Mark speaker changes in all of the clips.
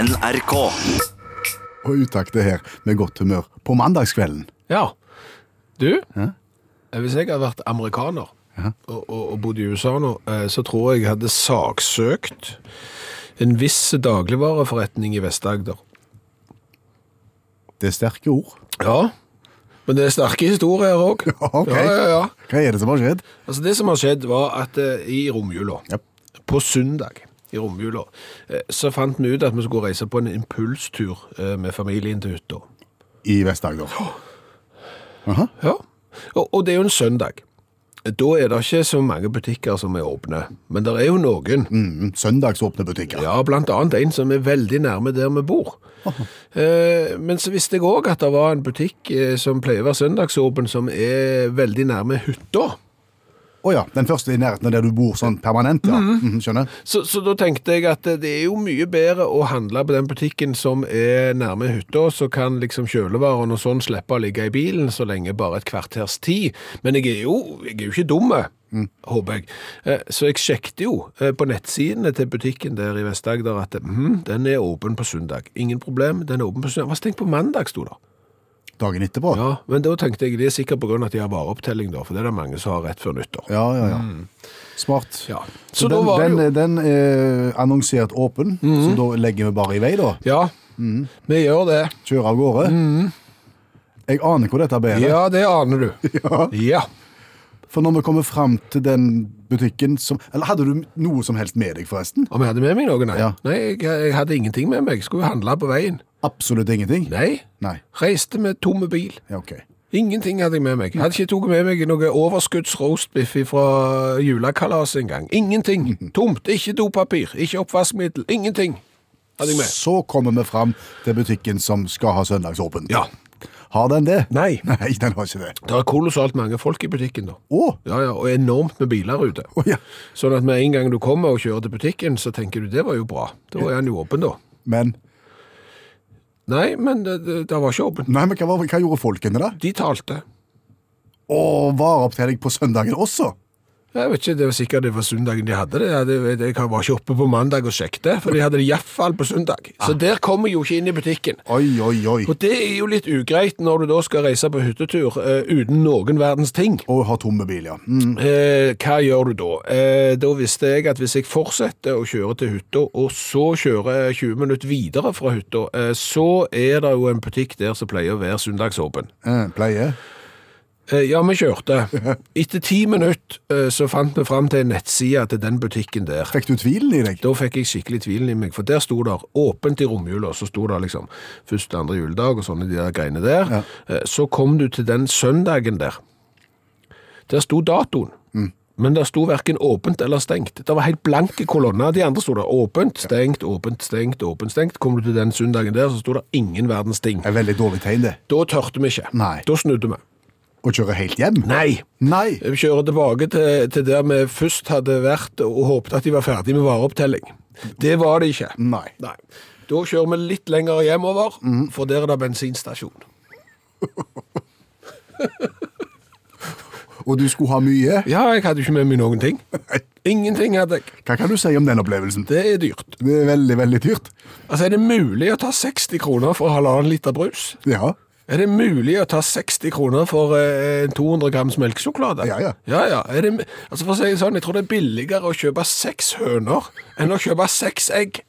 Speaker 1: NRK.
Speaker 2: Og utakte her med godt humør på mandagskvelden.
Speaker 3: Ja. Du,
Speaker 2: Ja.
Speaker 3: hvis jeg hadde vært amerikaner
Speaker 2: Ja.
Speaker 3: og, og, og bodd i USA nå, eh, så tror jeg jeg hadde saksøkt en viss dagligvareforretning i Vest-Agder.
Speaker 2: Det er sterke ord.
Speaker 3: Ja, men det er sterke historier òg.
Speaker 2: Ok.
Speaker 3: Ja, ja, ja.
Speaker 2: Hva er det som har skjedd?
Speaker 3: Altså Det som har skjedd, var at eh, i romjula,
Speaker 2: Ja.
Speaker 3: på søndag i romjula, eh, så fant vi ut at vi skulle reise på en impulstur eh, med familien til hytta.
Speaker 2: I Vest-Agder. Aha.
Speaker 3: Ja. Og, og det er jo en søndag. Da er det ikke så mange butikker som er åpne, men det er jo noen.
Speaker 2: Mm, søndagsåpne butikker.
Speaker 3: Ja, blant annet en som er veldig nærme der vi bor. Eh, men så visste jeg òg at det var en butikk eh, som pleier å være søndagsåpen, som er veldig nærme hytta.
Speaker 2: Å ja, den første i nærheten av der du bor sånn permanent, ja.
Speaker 3: Mm,
Speaker 2: Mhm, skjønner.
Speaker 3: Så, så da tenkte jeg at det er jo mye bedre å handle på den butikken som er nærme hytta, så kan liksom kjølevaren og sånn slippe å ligge i bilen så lenge bare et kvarters tid. Men jeg er jo, jeg er jo ikke dumme, håper jeg. Eh, Så jeg sjekket jo eh, på nettsidene til butikken der i Vest-Agder at hm, den er åpen på søndag. Ingen problem, den er åpen på søndag. Hva stengt på mandag, sto det.
Speaker 2: Dagen etterpå.
Speaker 3: Ja, men da tenkte jeg det er sikkert på grunn av at de har vareopptelling, da, for det er det mange som har rett før nyttår.
Speaker 2: Ja, ja, ja. Smart.
Speaker 3: Mm. Ja. Så,
Speaker 2: Så
Speaker 3: da
Speaker 2: den,
Speaker 3: var det jo... Mm,
Speaker 2: den, den er annonsert åpen, så da legger vi bare i vei, da.
Speaker 3: Ja, vi gjør det.
Speaker 2: Kjører av gårde. Jeg aner hvor dette bærer.
Speaker 3: Mm, Ja, det aner du.
Speaker 2: Ja.
Speaker 3: Ja.
Speaker 2: For når vi kommer fram til den butikken som Eller hadde du noe som helst med deg, forresten?
Speaker 3: Om jeg hadde med meg noe, nei.
Speaker 2: Ja.
Speaker 3: Nei, jeg, jeg hadde ingenting med meg. Skulle handle på veien.
Speaker 2: Absolutt ingenting?
Speaker 3: Nei.
Speaker 2: Nei.
Speaker 3: Reiste med tomme bil.
Speaker 2: Ja, OK.
Speaker 3: Ingenting hadde jeg med meg. Hadde ikke tatt med meg noe overskudds roastbiff fra julekalaset engang. Ingenting. Tomt. Ikke dopapir. Ikke oppvaskmiddel. Ingenting hadde jeg med.
Speaker 2: Så kommer vi fram til butikken som skal ha søndagsåpent.
Speaker 3: Ja.
Speaker 2: Har den det?
Speaker 3: Nei.
Speaker 2: Nei, den har ikke det.
Speaker 3: Det er kolossalt mange folk i butikken, da.
Speaker 2: Å!
Speaker 3: Ja, ja, og enormt med biler ute.
Speaker 2: Å, ja.
Speaker 3: Sånn at med en gang du kommer og kjører til butikken, så tenker du det var jo bra. Da er han jo åpen, da.
Speaker 2: Men
Speaker 3: Nei, men det, det, det var ikke åpen.
Speaker 2: Nei, men hva, var- hva gjorde folkene da?
Speaker 3: De talte.
Speaker 2: Å, vareopptelling på søndagen også?
Speaker 3: Jeg vet ikke, det var sikkert det var søndagen de hadde det. Jeg, det- jeg var ikke oppe på mandag og sjekket, for de hadde det iallfall på søndag. Så der kommer jo ikke inn i butikken.
Speaker 2: Oi, oi, oi.
Speaker 3: Og det er jo litt ugreit når du da skal reise på hyttetur eh, uten noen verdens ting.
Speaker 2: Og har tomme bil, ja. Mm.
Speaker 3: Eh, hva gjør du da? Eh, da visste jeg at hvis jeg fortsetter å kjøre til hytta, og så kjører jeg 20 minutter videre fra hytta, eh, så er det jo en butikk der som pleier å være søndagsåpen.
Speaker 2: Eh, Pleie.
Speaker 3: Eh, Ja, vi kjørte. Etter ti minutter eh, så fant vi fram til en nettside til den butikken der.
Speaker 2: Fikk du tvilen i deg?
Speaker 3: Da fikk jeg skikkelig tvilen i meg, for der sto der åpent i romjula, så sto der liksom første, andre juledag og sånne de der greiene der.
Speaker 2: Ja.
Speaker 3: Eh, Så kom du til den søndagen der. Der sto datoen.
Speaker 2: Mm.
Speaker 3: Men der sto hverken åpent eller stengt. Det var helt blanke kolonner. De andre sto der åpent, stengt, åpent, stengt, åpent, stengt. Kom du til den søndagen der, så sto der ingen verdens ting.
Speaker 2: Det er veldig dårlig tegn, det.
Speaker 3: Da tørte vi ikke.
Speaker 2: Nei.
Speaker 3: Da snudde vi.
Speaker 2: Å kjøre helt hjem?
Speaker 3: Nei.
Speaker 2: Nei.
Speaker 3: Vi kjører tilbake til, til der vi først hadde vært og håpet at de var ferdig med vareopptelling. Det var de ikke.
Speaker 2: Nei.
Speaker 3: Nei. Da kjører vi litt lenger hjemover, for der er det bensinstasjon.
Speaker 2: Og du skulle ha mye?
Speaker 3: Ja, jeg hadde jo ikke med meg noen ting. Ingenting hadde jeg.
Speaker 2: Hva kan du si om den opplevelsen?
Speaker 3: Det er dyrt.
Speaker 2: Det er veldig, veldig dyrt.
Speaker 3: Altså, er det mulig å ta 60 kroner for halvannen liter brus?
Speaker 2: Ja.
Speaker 3: Er det mulig å ta 60 kroner for eh, en 200 grams melkesjokolade?
Speaker 2: Ja, ja.
Speaker 3: ja, ja. Er det, altså for å si det sånn, jeg tror det er billigere å kjøpe seks høner enn å kjøpe seks egg.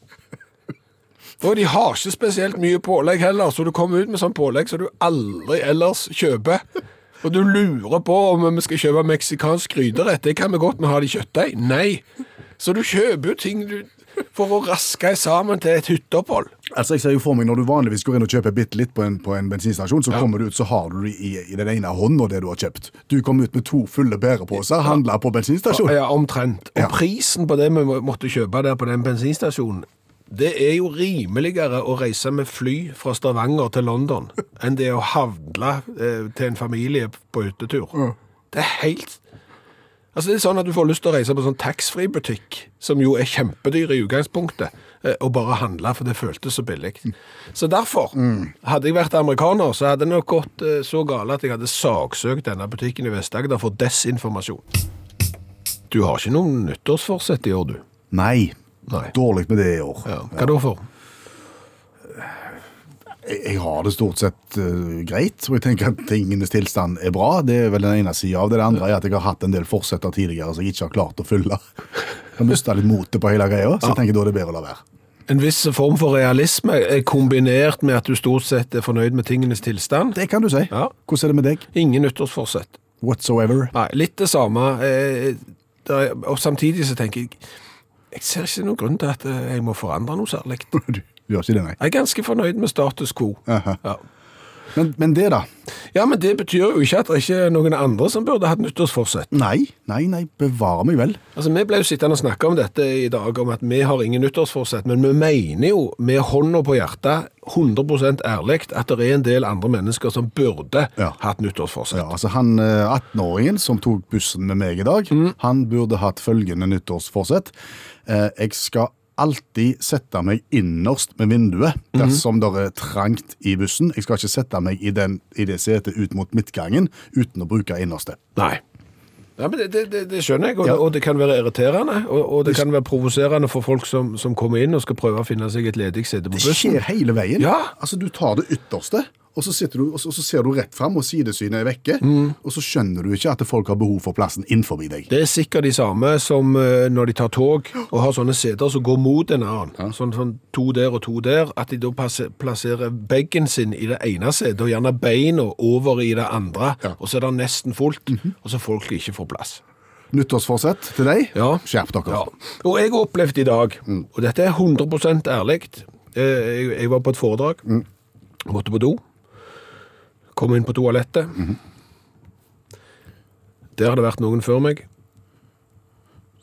Speaker 3: For de har ikke spesielt mye pålegg heller, så du kommer ut med sånn pålegg som du aldri ellers kjøper. Og du lurer på om vi skal kjøpe meksikansk gryterett. Det kan vi godt, men har de kjøttdeig? Nei. Så du kjøper jo ting du, for å raske sammen til et hytteopphold.
Speaker 2: Altså, jeg ser jo for meg Når du vanligvis går inn og kjøper bitte litt på en, på en bensinstasjon, så kommer du ut, så har du det i, i den ene hånda det du har kjøpt. Du kom ut med to fulle bæreposer, handla på bensinstasjonen.
Speaker 3: Ja, omtrent. Og
Speaker 2: Ja.
Speaker 3: prisen på det vi må- måtte kjøpe der på den bensinstasjonen, det er jo rimeligere å reise med fly fra Stavanger til London enn det å handle eh, til en familie på hyttetur. Det er helt Altså, det er sånn at du får lyst til å reise på en sånn taxfree-butikk, som jo er kjempedyr i utgangspunktet, eh, og bare handle, for det føltes så billig. Så derfor, hadde jeg vært amerikaner, så hadde det nok gått eh, så gale at jeg hadde saksøkt denne butikken i Vest-Agder for desinformasjon. Du har ikke noen nyttårsforsett i år, du?
Speaker 2: Nei.
Speaker 3: Nei.
Speaker 2: Dårlig med det i år.
Speaker 3: Hva da for?
Speaker 2: jeg, jeg har det stort sett eh, greit, og jeg tenker at tingenes tilstand er bra. Det er vel den ene sida av det. Det andre er at jeg har hatt en del forsetter tidligere som jeg ikke har klart å fylle. Jeg har mista litt motet på hele greia, så jeg tenker da er det bedre å la være.
Speaker 3: En viss form for realisme er kombinert med at du stort sett er fornøyd med tingenes tilstand.
Speaker 2: Det kan du si.
Speaker 3: Ja.
Speaker 2: Hvordan er det med deg?
Speaker 3: Ingen nyttårsforsett.
Speaker 2: Whatsoever.
Speaker 3: Nei, litt det samme. eh, det er- Og samtidig så tenker jeg Jeg ser ikke noen grunn til at eh, jeg må forandre noe særlig. Jeg
Speaker 2: Du gjør ikke det, nei.
Speaker 3: er ganske fornøyd med status quo.
Speaker 2: Aha.
Speaker 3: Ja.
Speaker 2: Men, men det, da?
Speaker 3: ja, men det betyr jo ikke at det ikke er noen andre som burde hatt nyttårsforsett.
Speaker 2: Nei, nei, nei, bevare meg vel.
Speaker 3: Altså, Vi ble jo sittende og snakke om dette i dag, om at vi har ingen nyttårsforsett, men vi mener jo med hånda på hjertet, 100 ærlig, at det er en del andre mennesker som burde
Speaker 2: Ja.
Speaker 3: hatt nyttårsforsett.
Speaker 2: Ja, altså Han eh, 18-åringen som tok bussen med meg i dag,
Speaker 3: Mm.
Speaker 2: han burde hatt følgende nyttårsforsett. Eh, Jeg skal alltid sette meg innerst med vinduet
Speaker 3: Mhm.
Speaker 2: dersom det er trangt i bussen. Jeg skal ikke sette meg i, den, i det setet ut mot midtgangen uten å bruke innerste.
Speaker 3: Nei. Ja, men det, det, det, det skjønner jeg, og,
Speaker 2: Ja.
Speaker 3: og det kan være irriterende, og, og det kan være provoserende for folk som, som kommer inn og skal prøve å finne seg et ledig sete på
Speaker 2: Det
Speaker 3: bussen.
Speaker 2: skjer hele veien.
Speaker 3: Ja.
Speaker 2: Altså Du tar det ytterste, og så, sitter du, og så, og så ser du rett fram, og sidesynet er vekke. Og så skjønner du ikke at folk har behov for plassen innenfor deg.
Speaker 3: Mhm. Det er sikkert de samme som eh, når de tar tog og har sånne seter som går mot en annen, sånn, sånn to der og to der, at de da passer, plasserer beggen sin i det ene setet, og gjerne beina over i det andre, og så er det nesten fullt, og så folk ikke får plass.
Speaker 2: Nyttårsforsett til deg?
Speaker 3: Ja.
Speaker 2: Skjerp dere.
Speaker 3: Ja. Og jeg opplevde i dag, og dette er 100 ærlig Eh, Jeg jeg var på et foredrag, måtte på do, kom inn på toalettet. Der har det vært noen før meg.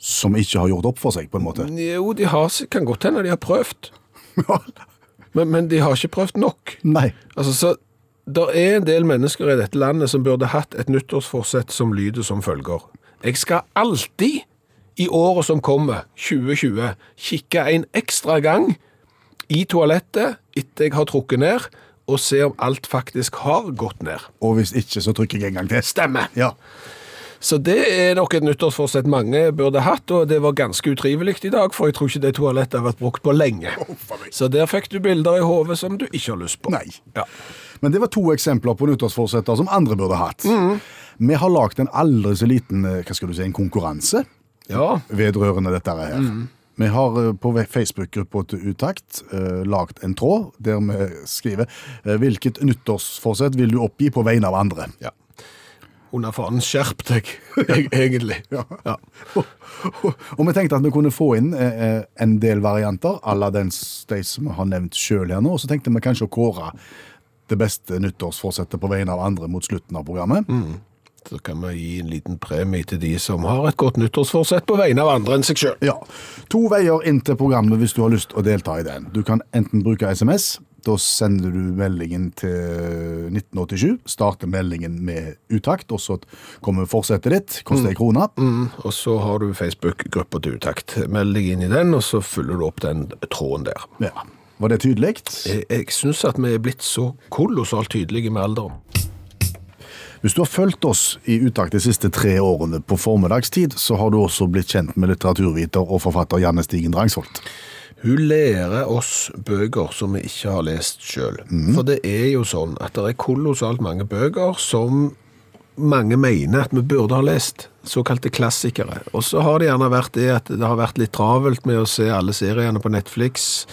Speaker 2: Som ikke har gjort opp for seg, på en måte.
Speaker 3: Jo, de har, s- kan godt hende de har prøvd, Mm. men, men de har ikke prøvd nok.
Speaker 2: Nei.
Speaker 3: Altså, så der er en del mennesker i dette landet som burde hatt et nyttårsforsett som lyder som følger. Jeg skal alltid, i året som kommer, 2020, kikke en ekstra gang i toalettet etter jeg har trukket ned, og se om alt faktisk har gått ned.
Speaker 2: Og hvis ikke, så trykker jeg en gang til.
Speaker 3: Stemmer!
Speaker 2: Ja.
Speaker 3: Så det er nok et nyttårsforsett mange burde hatt, og det var ganske utrivelig i dag, for jeg tror ikke det toalettet har vært brukt på lenge. Så der fikk du bilder i hodet som du ikke har lyst på.
Speaker 2: Nei.
Speaker 3: Ja.
Speaker 2: Men det var to eksempler på nyttårsforsetter som andre burde hatt. Vi har lagt en aldri så liten eh, hva skal du si, en konkurranse
Speaker 3: ja.
Speaker 2: vedrørende dette her. Vi har eh, på ve- Facebook-gruppa til Utakt eh, lagt en tråd der vi skriver eh, hvilket nyttårsforsett vil du oppgi på vegne av andre.
Speaker 3: Ja. Under fanen skjerp deg, e- egentlig.
Speaker 2: Ja.
Speaker 3: Ja.
Speaker 2: Og vi tenkte at vi kunne få inn eh, eh, en del varianter, à la den s- de som vi har nevnt sjøl her nå. Og så tenkte vi kanskje å kåre det beste nyttårsforsettet på vegne av andre mot slutten av programmet.
Speaker 3: Så kan vi gi en liten premie til de som har et godt nyttårsforsett på vegne av andre enn seg sjøl.
Speaker 2: Ja. To veier inn til programmet hvis du har lyst å delta i den. Du kan enten bruke SMS. Da sender du meldingen til 1987. Starter meldingen med utakt, og så kommer forsettet ditt. Koster ei krone.
Speaker 3: Og så har du Facebook-gruppa til utakt. Meld deg inn i den, og så følger du opp den tråden der.
Speaker 2: Ja. Var det tydelig?
Speaker 3: Jeg, jeg syns at vi er blitt så kolossalt tydelige med alderen.
Speaker 2: Hvis du har fulgt oss i utakt de siste tre årene på formiddagstid, så har du også blitt kjent med litteraturviter og forfatter Janne Stigen Drangsholt.
Speaker 3: Hun lærer oss bøker som vi ikke har lest sjøl. For det er jo sånn at det er kolossalt mange bøker som mange mener at vi burde ha lest. Såkalte klassikere. Og så har det gjerne vært det at det har vært litt travelt med å se alle seriene på Netflix.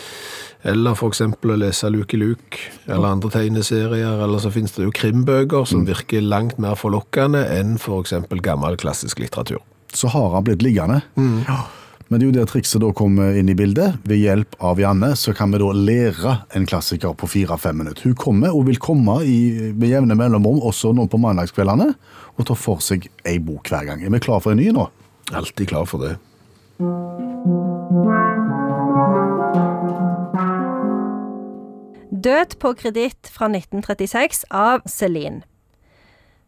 Speaker 3: Eller f.eks. å lese Luke Luke, eller andre tegneserier. Eller så finnes det jo krimbøker som virker langt mer forlokkende enn f.eks. gammel klassisk litteratur.
Speaker 2: Så har han blitt liggende. Ja. Men det er jo der trikset da kommer inn i bildet. Ved hjelp av Janne så kan vi da lære en klassiker på fire-fem minutter. Hun kommer og vil komme i, med jevne mellomrom også nå på mandagskveldene og ta for seg ei bok hver gang. Er vi klar for en ny nå?
Speaker 3: Alltid klar for det.
Speaker 1: Død på kreditt fra 1936 av Celine.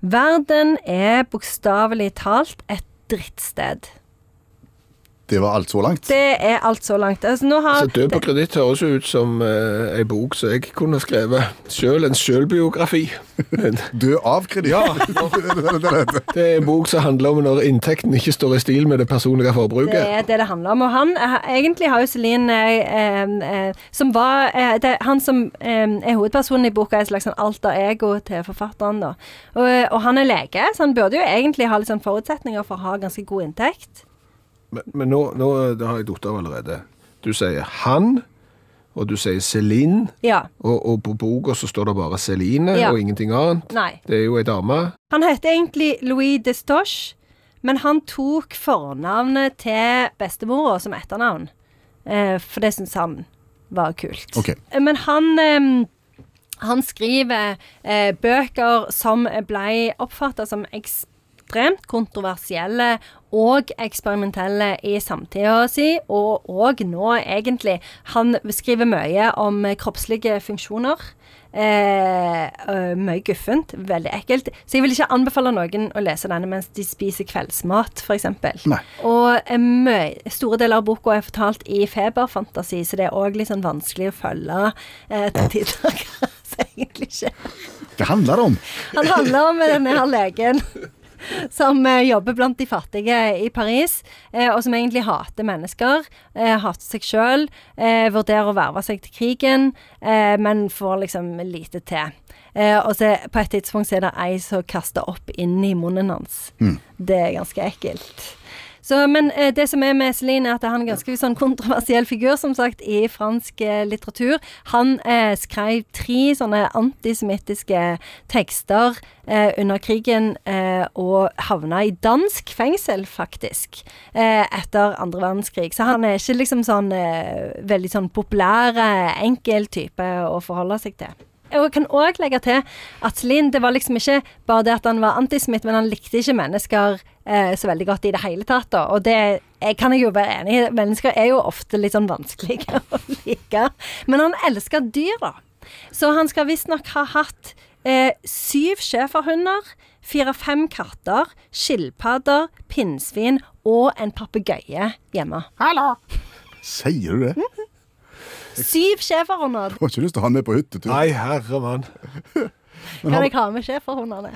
Speaker 1: Verden er bokstavelig talt et drittsted.
Speaker 2: Det var alt så langt.
Speaker 1: Det er alt så langt. Altså, nå har
Speaker 3: Så Død på kreditt høres jo ut som eh, ei bok som jeg kunne skrevet sjøl, en sjølbiografi.
Speaker 2: Død av kreditt.
Speaker 3: Ja. Det er en bok som handler om når inntekten ikke står i stil med det personlige
Speaker 1: Det
Speaker 3: forbruket.
Speaker 1: er det det handler om. Og han eh, egentlig har jo Celine eh, eh, eh, Som var eh, det, er Han som eh, er hovedpersonen i boka, er et slags sånn alter ego til forfatteren, da. Og, eh, og han er lege, så han burde jo egentlig ha litt sånn forutsetninger for å ha ganske god inntekt.
Speaker 3: Men, men nå, nå det har jeg datt av allerede. Du sier han, og du sier Celine,
Speaker 1: Ja.
Speaker 3: og, og på boka så står det bare Celine
Speaker 1: Ja.
Speaker 3: og ingenting annet.
Speaker 1: Nei.
Speaker 3: Det er jo ei dame.
Speaker 1: Han heter egentlig Louis Destoche, men han tok fornavnet til bestemora som etternavn. Eh, for det syns han var kult.
Speaker 2: Ok.
Speaker 1: Eh, Men han eh, han skriver eh, bøker som ble oppfatta som ekstremt kontroversielle og eksperimentelle i samtida si, og òg nå, egentlig. Han skriver mye om eh, kroppslige funksjoner. Eh, eh, mye guffent. Veldig ekkelt. Så jeg vil ikke anbefale noen å lese denne mens de spiser kveldsmat, f.eks.
Speaker 2: Nei.
Speaker 1: Og eh, mø- store deler av boka er fortalt i feberfantasi, så det er òg litt sånn vanskelig å følge eh, til tider. kanskje, egentlig ikke.
Speaker 2: Hva handler det om?
Speaker 1: Han handler om denne her legen som eh, jobber blant de fattige i Paris, eh, og som egentlig hater mennesker. Eh, hater seg sjøl. Eh, vurderer å verve seg til krigen, eh, men får liksom lite til. Eh, og så på et tidspunkt så er det ei som kaster opp inn i munnen hans. Det er ganske ekkelt. Så, men eh, det som er med Celine, er at han er en ganske sånn kontroversiell figur, som sagt, i fransk eh, litteratur. Han eh, skrev tre sånne antisemittiske tekster eh, under krigen, eh, og havna i dansk fengsel, faktisk, eh, etter andre verdenskrig. Så han er ikke liksom sånn eh, veldig sånn populær, eh, enkel type å forholde seg til. Og jeg kan òg legge til at Celine det var liksom ikke bare det at han var antisemitt, men han likte ikke mennesker eh, så veldig godt i det hele tatt. Da. Og det eh, kan jeg jo være enig i. Mennesker er jo ofte litt sånn vanskelige å like. Men han elsker dyr, da. Så han skal visstnok ha hatt eh, syv schæferhunder, fire-fem katter, skilpadder, pinnsvin og en papegøye hjemme.
Speaker 2: Sier du det? Jeg
Speaker 1: Syv schæferhunder!
Speaker 2: har ikke lyst til å ha han med på hyttetur.
Speaker 4: Nei, herre mann.
Speaker 1: Kan jeg ha med schæferhundene?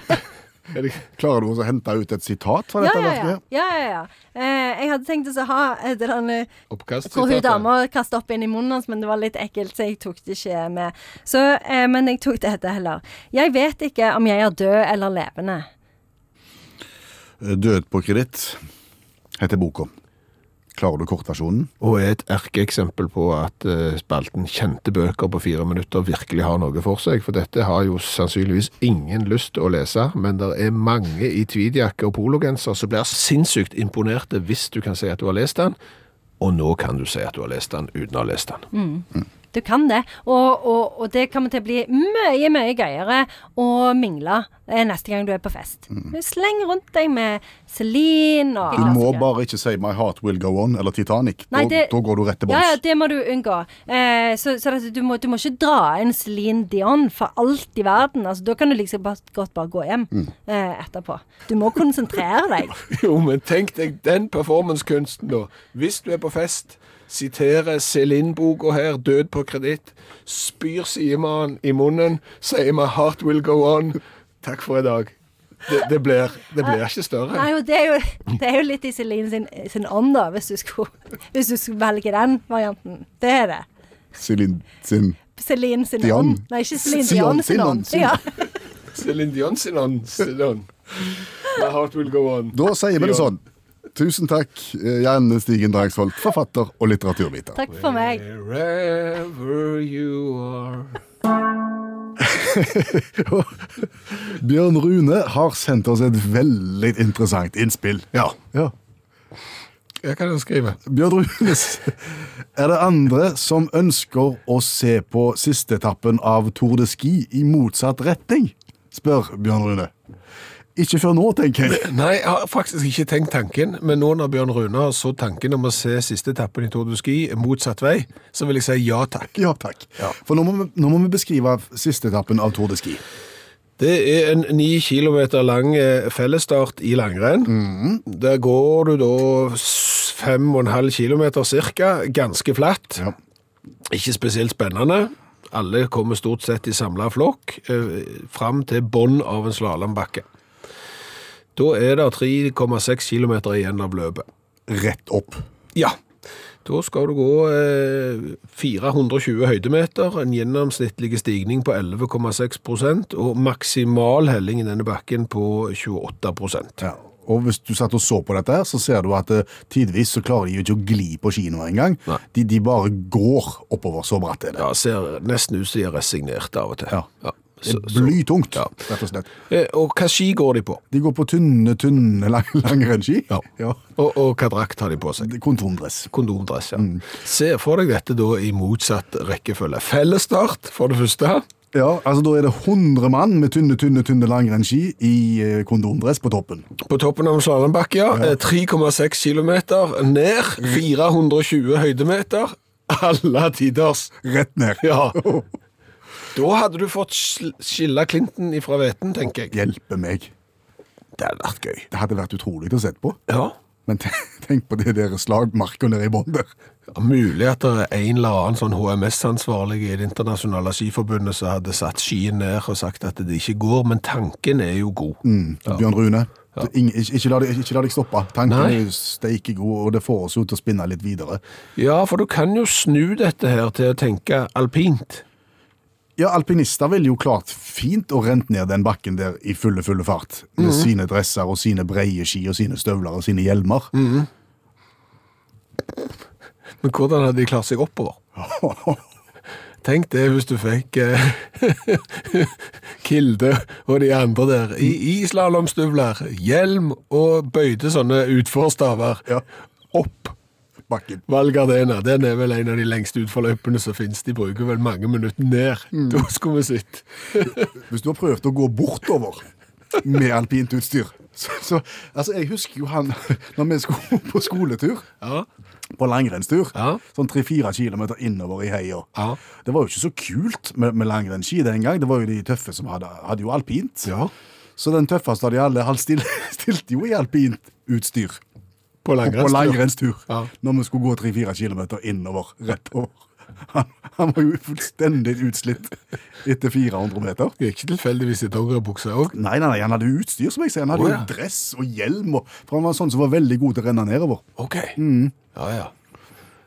Speaker 2: Er det- Klarer du også å hente ut et sitat fra
Speaker 1: Ja,
Speaker 2: dette
Speaker 1: ja, ja.
Speaker 2: verket?
Speaker 1: ja, ja, ja. Eh, jeg hadde tenkt å ha eh, det der eh,
Speaker 3: Oppkast.
Speaker 1: hvor hun
Speaker 3: sitat, ja.
Speaker 1: dama kasta opp inn i munnen hans, men det var litt ekkelt, så jeg tok det ikke med. Så, eh, men jeg tok dette heller. Jeg vet ikke om jeg er død eller levende.
Speaker 2: Eh, Død på kreditt heter boka. Klarer du kortversjonen?
Speaker 3: Og er et erkeeksempel på at eh, spalten Kjente bøker på fire minutter virkelig har noe for seg. For dette har jo sannsynligvis ingen lyst til å lese, men det er mange i tweedjakke og pologenser som blir sinnssykt imponerte hvis du kan si at du har lest den. Og nå kan du si at du har lest den uten å ha lest den.
Speaker 1: Du kan det, og, og, og det kommer til å bli mye, mye gøyere å mingle eh, neste gang du er på fest. Sleng rundt deg med Celine og
Speaker 2: Du må bare ikke si 'My heart will go on' eller 'Titanic'.
Speaker 1: Nei,
Speaker 2: da,
Speaker 1: det-
Speaker 2: da går du rett til
Speaker 1: Ja, ja,
Speaker 2: bunns.
Speaker 1: det må du unngå. Eh, så så altså, du, må, du må ikke dra inn Celine Dion for alt i verden. Altså, da kan du liksom bare, godt bare gå hjem
Speaker 2: Mm.
Speaker 1: eh, etterpå. Du må konsentrere deg.
Speaker 3: Jo, men tenk deg den performancekunsten, da. Hvis du er på fest, siterer Celine-boka her, Død på kreditt, spyr sidemannen i munnen, sier my heart will go on. Takk for i dag. Det, det, blir, det blir ikke større.
Speaker 1: Nei, og det er jo, det er jo litt i Celine sin, sin ånd, da, hvis du, skulle, hvis du skulle velge den varianten. Det er det.
Speaker 2: Celine sin
Speaker 1: Celine sin
Speaker 2: Dion.
Speaker 1: ånd. Nei, ikke Celine
Speaker 2: Sion
Speaker 1: Dion
Speaker 2: sin
Speaker 1: sin
Speaker 2: ånd,
Speaker 1: ånd.
Speaker 2: sin-
Speaker 1: Ja.
Speaker 3: Celine Dion sin ånd. sin ånd. My heart will go on.
Speaker 2: Da sier vi det sånn. Tusen takk, eh, Janne Stigen Dragsvold, forfatter og litteraturviter.
Speaker 1: Takk for meg.
Speaker 3: Wherever you are.
Speaker 2: Bjørn Rune har sendt oss et veldig interessant innspill. Ja.
Speaker 3: Jeg kan skrive.
Speaker 2: Bjørn Rune, s- er det andre som ønsker å se på sisteetappen av Tour de Ski i motsatt retning? Spør Bjørn Rune. Ikke før nå, tenker jeg.
Speaker 3: Nei, jeg har faktisk ikke tenkt tanken, men nå når Bjørn Rune har så tanken om å se siste etappen i Tour de Ski motsatt vei, så vil jeg si ja takk.
Speaker 2: Ja, takk. For nå må, vi, nå må vi beskrive sisteetappen av Tour de Ski.
Speaker 3: Det er en ni kilometer lang eh, fellesstart i langrenn. Der går du da s- 5,5 km ca. Ganske flatt.
Speaker 2: Ja.
Speaker 3: Ikke spesielt spennende. Alle kommer stort sett i samla flokk eh, fram til bånn av en slalåmbakke. Da er det 3,6 km igjen av løpet.
Speaker 2: Rett opp.
Speaker 3: Ja. Da skal du gå eh, 420 høydemeter, en gjennomsnittlig stigning på 11,6 og maksimal helling i denne bakken på 28
Speaker 2: Ja. Og hvis du satt og så på dette, her, så ser du at eh, tidvis så klarer de jo ikke å gli på kinoer engang.
Speaker 3: Nei.
Speaker 2: De, de bare går oppover, så bratt er det.
Speaker 3: Ja, ser nesten ut som de er resignert av og til.
Speaker 2: Ja. Det
Speaker 3: Så,
Speaker 2: er
Speaker 3: så.
Speaker 2: blytungt,
Speaker 3: ja.
Speaker 2: rett og slett.
Speaker 3: Eh, Og hva ski går de på?
Speaker 2: De går på tynne, tynne lang, langrennsski.
Speaker 3: Ja.
Speaker 2: Ja.
Speaker 3: Og, og hva drakt har de på seg?
Speaker 2: Kontomdress.
Speaker 3: Kondomdress, ja.
Speaker 2: Mm.
Speaker 3: Se for deg dette da i motsatt rekkefølge. Fellesstart, for det første.
Speaker 2: Ja, altså da er det 100 mann med tynne, tynne, tynne langrennsski i eh, kondomdress på toppen.
Speaker 3: På toppen av en slalåmbakke, ja. Mm. Eh, 3,6 km ned. 420 høydemeter. Alle tiders.
Speaker 2: Rett ned.
Speaker 3: Ja. Da hadde du fått sl- skille Clinton ifra hveten, tenker jeg.
Speaker 2: Hjelpe meg.
Speaker 3: Det hadde vært gøy.
Speaker 2: Det hadde vært utrolig å se på.
Speaker 3: Ja.
Speaker 2: Men ten- tenk på det der slagmarka nede i bånn der.
Speaker 3: Ja, Mulig at det er en eller annen sånn HMS-ansvarlig i Det internasjonale skiforbundet som hadde satt skien ned og sagt at det ikke går, men tanken er jo god.
Speaker 2: Bjørn Rune. Ing- ikke, ikke, la deg, ikke la deg stoppe. Tanken
Speaker 3: Nei.
Speaker 2: er jo steikegod, og det får oss jo til å spinne litt videre.
Speaker 3: Ja, for du kan jo snu dette her til å tenke alpint.
Speaker 2: Ja, Alpinister ville jo klart fint å rent ned den bakken der i fulle, fulle fart. Med
Speaker 3: Mhm.
Speaker 2: sine dresser og sine breie ski og sine støvler og sine hjelmer.
Speaker 3: Mm. Men hvordan hadde de klart seg oppover? Tenk det hvis du fikk eh, Kilde og de andre der i,
Speaker 2: Mm.
Speaker 3: i slalåmstøvler, hjelm og bøyde sånne utforstaver
Speaker 2: Ja.
Speaker 3: opp
Speaker 2: Bakken.
Speaker 3: Valgardena, den er vel en av de lengste utforløpene som finnes. De bruker vel mange minutter ned.
Speaker 2: Mm.
Speaker 3: Da skulle vi sitte.
Speaker 2: Hvis du har prøvd å gå bortover med alpint utstyr så, så, altså, Jeg husker jo han når vi skulle på skoletur,
Speaker 3: Ja.
Speaker 2: på langrennstur,
Speaker 3: Ja.
Speaker 2: sånn tre-fire kilometer innover i heia.
Speaker 3: Ja.
Speaker 2: Det var jo ikke så kult med, med langrennsski den gang. Det var jo de tøffe som hadde, hadde jo alpint.
Speaker 3: Ja.
Speaker 2: Så den tøffeste av de alle, han stil, stilte jo i alpint utstyr.
Speaker 3: På
Speaker 2: Og på langrennstur.
Speaker 3: Ja.
Speaker 2: Når vi skulle gå tre-fire kilometer innover, rett over. Han, han var jo fullstendig utslitt etter 400 meter.
Speaker 3: Det er Ikke tilfeldigvis i dongeribukse òg.
Speaker 2: Nei, nei, nei, han hadde jo utstyr, som jeg sier. Han hadde
Speaker 3: Å,
Speaker 2: jo
Speaker 3: ja.
Speaker 2: dress og hjelm. Og, for han var sånn som var veldig god til å renne nedover.
Speaker 3: Ok. Ja, ja.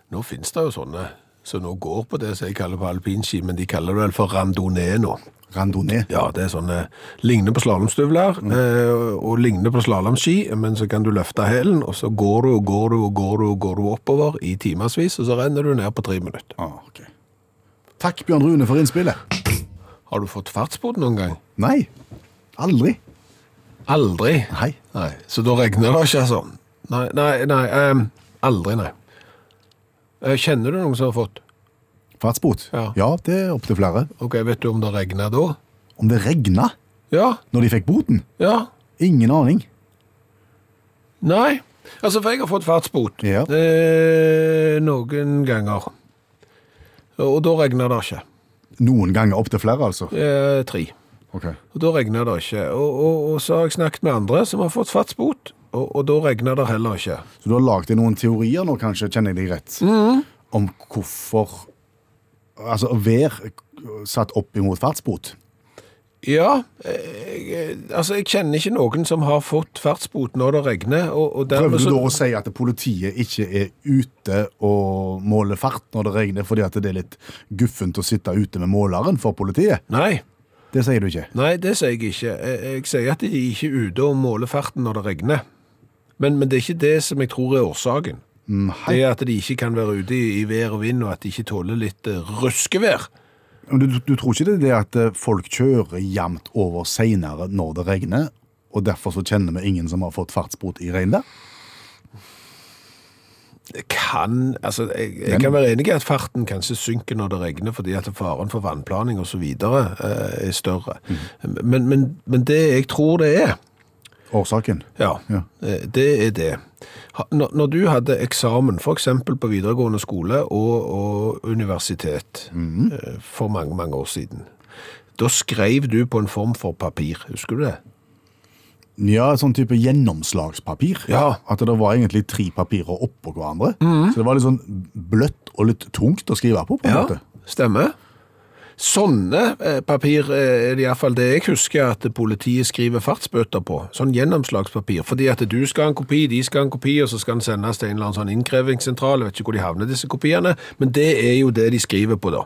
Speaker 3: Nå finnes det jo sånne som nå går på det som jeg kaller på alpinski, men de kaller det vel for randonee nå.
Speaker 2: Randonee.
Speaker 3: Ja, det er sånne ligner på slalåmstøvler eh, og ligner på slalåmski, men så kan du løfte hælen, og så går du og går du og går du og går du oppover i timevis, og så renner du ned på tre minutter.
Speaker 2: Ah, ok. Takk, Bjørn Rune, for innspillet.
Speaker 3: Har du fått fartsbod noen gang?
Speaker 2: Nei. Aldri.
Speaker 3: Aldri.
Speaker 2: Nei.
Speaker 3: Nei, så da regner det ikke, altså. Nei, nei, nei, ehm, aldri, nei. Eh, Kjenner du noen som har fått?
Speaker 2: Fartsbot?
Speaker 3: Ja.
Speaker 2: ja, det er opptil flere.
Speaker 3: Ok, vet du om det regner da?
Speaker 2: Om det regna
Speaker 3: Ja,
Speaker 2: når de fikk boten?
Speaker 3: ja,
Speaker 2: Ingen aning.
Speaker 3: nei. Altså, for jeg har fått fartsbot.
Speaker 2: Ja.
Speaker 3: Eh, noen ganger. Og da regner det ikke.
Speaker 2: Noen ganger opptil flere, altså.
Speaker 3: Eh, tre.
Speaker 2: Ok.
Speaker 3: Og da regner det ikke. Og, og, og så har jeg snakket med andre som har fått fartsbot, og, og da regner det heller ikke.
Speaker 2: Så du har lagd deg noen teorier nå, kanskje, kjenner jeg deg rett,
Speaker 3: Mm.
Speaker 2: om hvorfor Altså vær satt opp imot fartsbot.
Speaker 3: Ja, jeg, jeg- altså jeg kjenner ikke noen som har fått fartsbot når det regner. Og, og dermed
Speaker 2: Prøver du
Speaker 3: Eh, så-
Speaker 2: da å si at politiet ikke er ute og måler fart når det regner, fordi at det er litt guffent å sitte ute med måleren for politiet?
Speaker 3: Nei,
Speaker 2: Det sier du ikke.
Speaker 3: nei, det sier jeg ikke. Jeg, jeg sier at de ikke er ute og måler farten når det regner. Men, men det er ikke det som jeg tror er årsaken.
Speaker 2: Nei.
Speaker 3: Det er at de ikke kan være ute i, i vær og vind, og at de ikke tåler litt eh, ruskevær.
Speaker 2: Men du, du tror ikke det er det at eh, folk kjører jevnt over seinere når det regner, og derfor så kjenner vi ingen som har fått fartsbot i regnvær?
Speaker 3: Det Kan, altså, jeg, jeg
Speaker 2: Men-
Speaker 3: kan være enig i at farten kanskje synker når det regner, fordi at faren for vannplaning og så videre eh, er større.
Speaker 2: Mhm.
Speaker 3: Men, men, men det jeg tror det er,
Speaker 2: Årsaken?
Speaker 3: Ja,
Speaker 2: Ja.
Speaker 3: eh, det er det. Ha- Når når du hadde eksamen, for eksempel på videregående skole og, og universitet
Speaker 2: Mhm.
Speaker 3: eh, for mange, mange år siden, da skrev du på en form for papir, husker du det?
Speaker 2: Ja, et sånn type gjennomslagspapir.
Speaker 3: Ja. Mhm.
Speaker 2: At det var egentlig tre papirer oppå hverandre. Så det var litt sånn bløtt og litt tungt å skrive på. på en
Speaker 3: Ja,
Speaker 2: måte.
Speaker 3: stemmer. Sånne eh, papir eh, er det iallfall det jeg husker at politiet skriver fartsbøter på. Sånn gjennomslagspapir. Fordi at du skal ha en kopi, de skal ha en kopi, og så skal den sendes til en eller annen sånn innkrevingssentral. Jeg vet ikke hvor de havner, disse kopiene, men det er jo det de skriver på, da.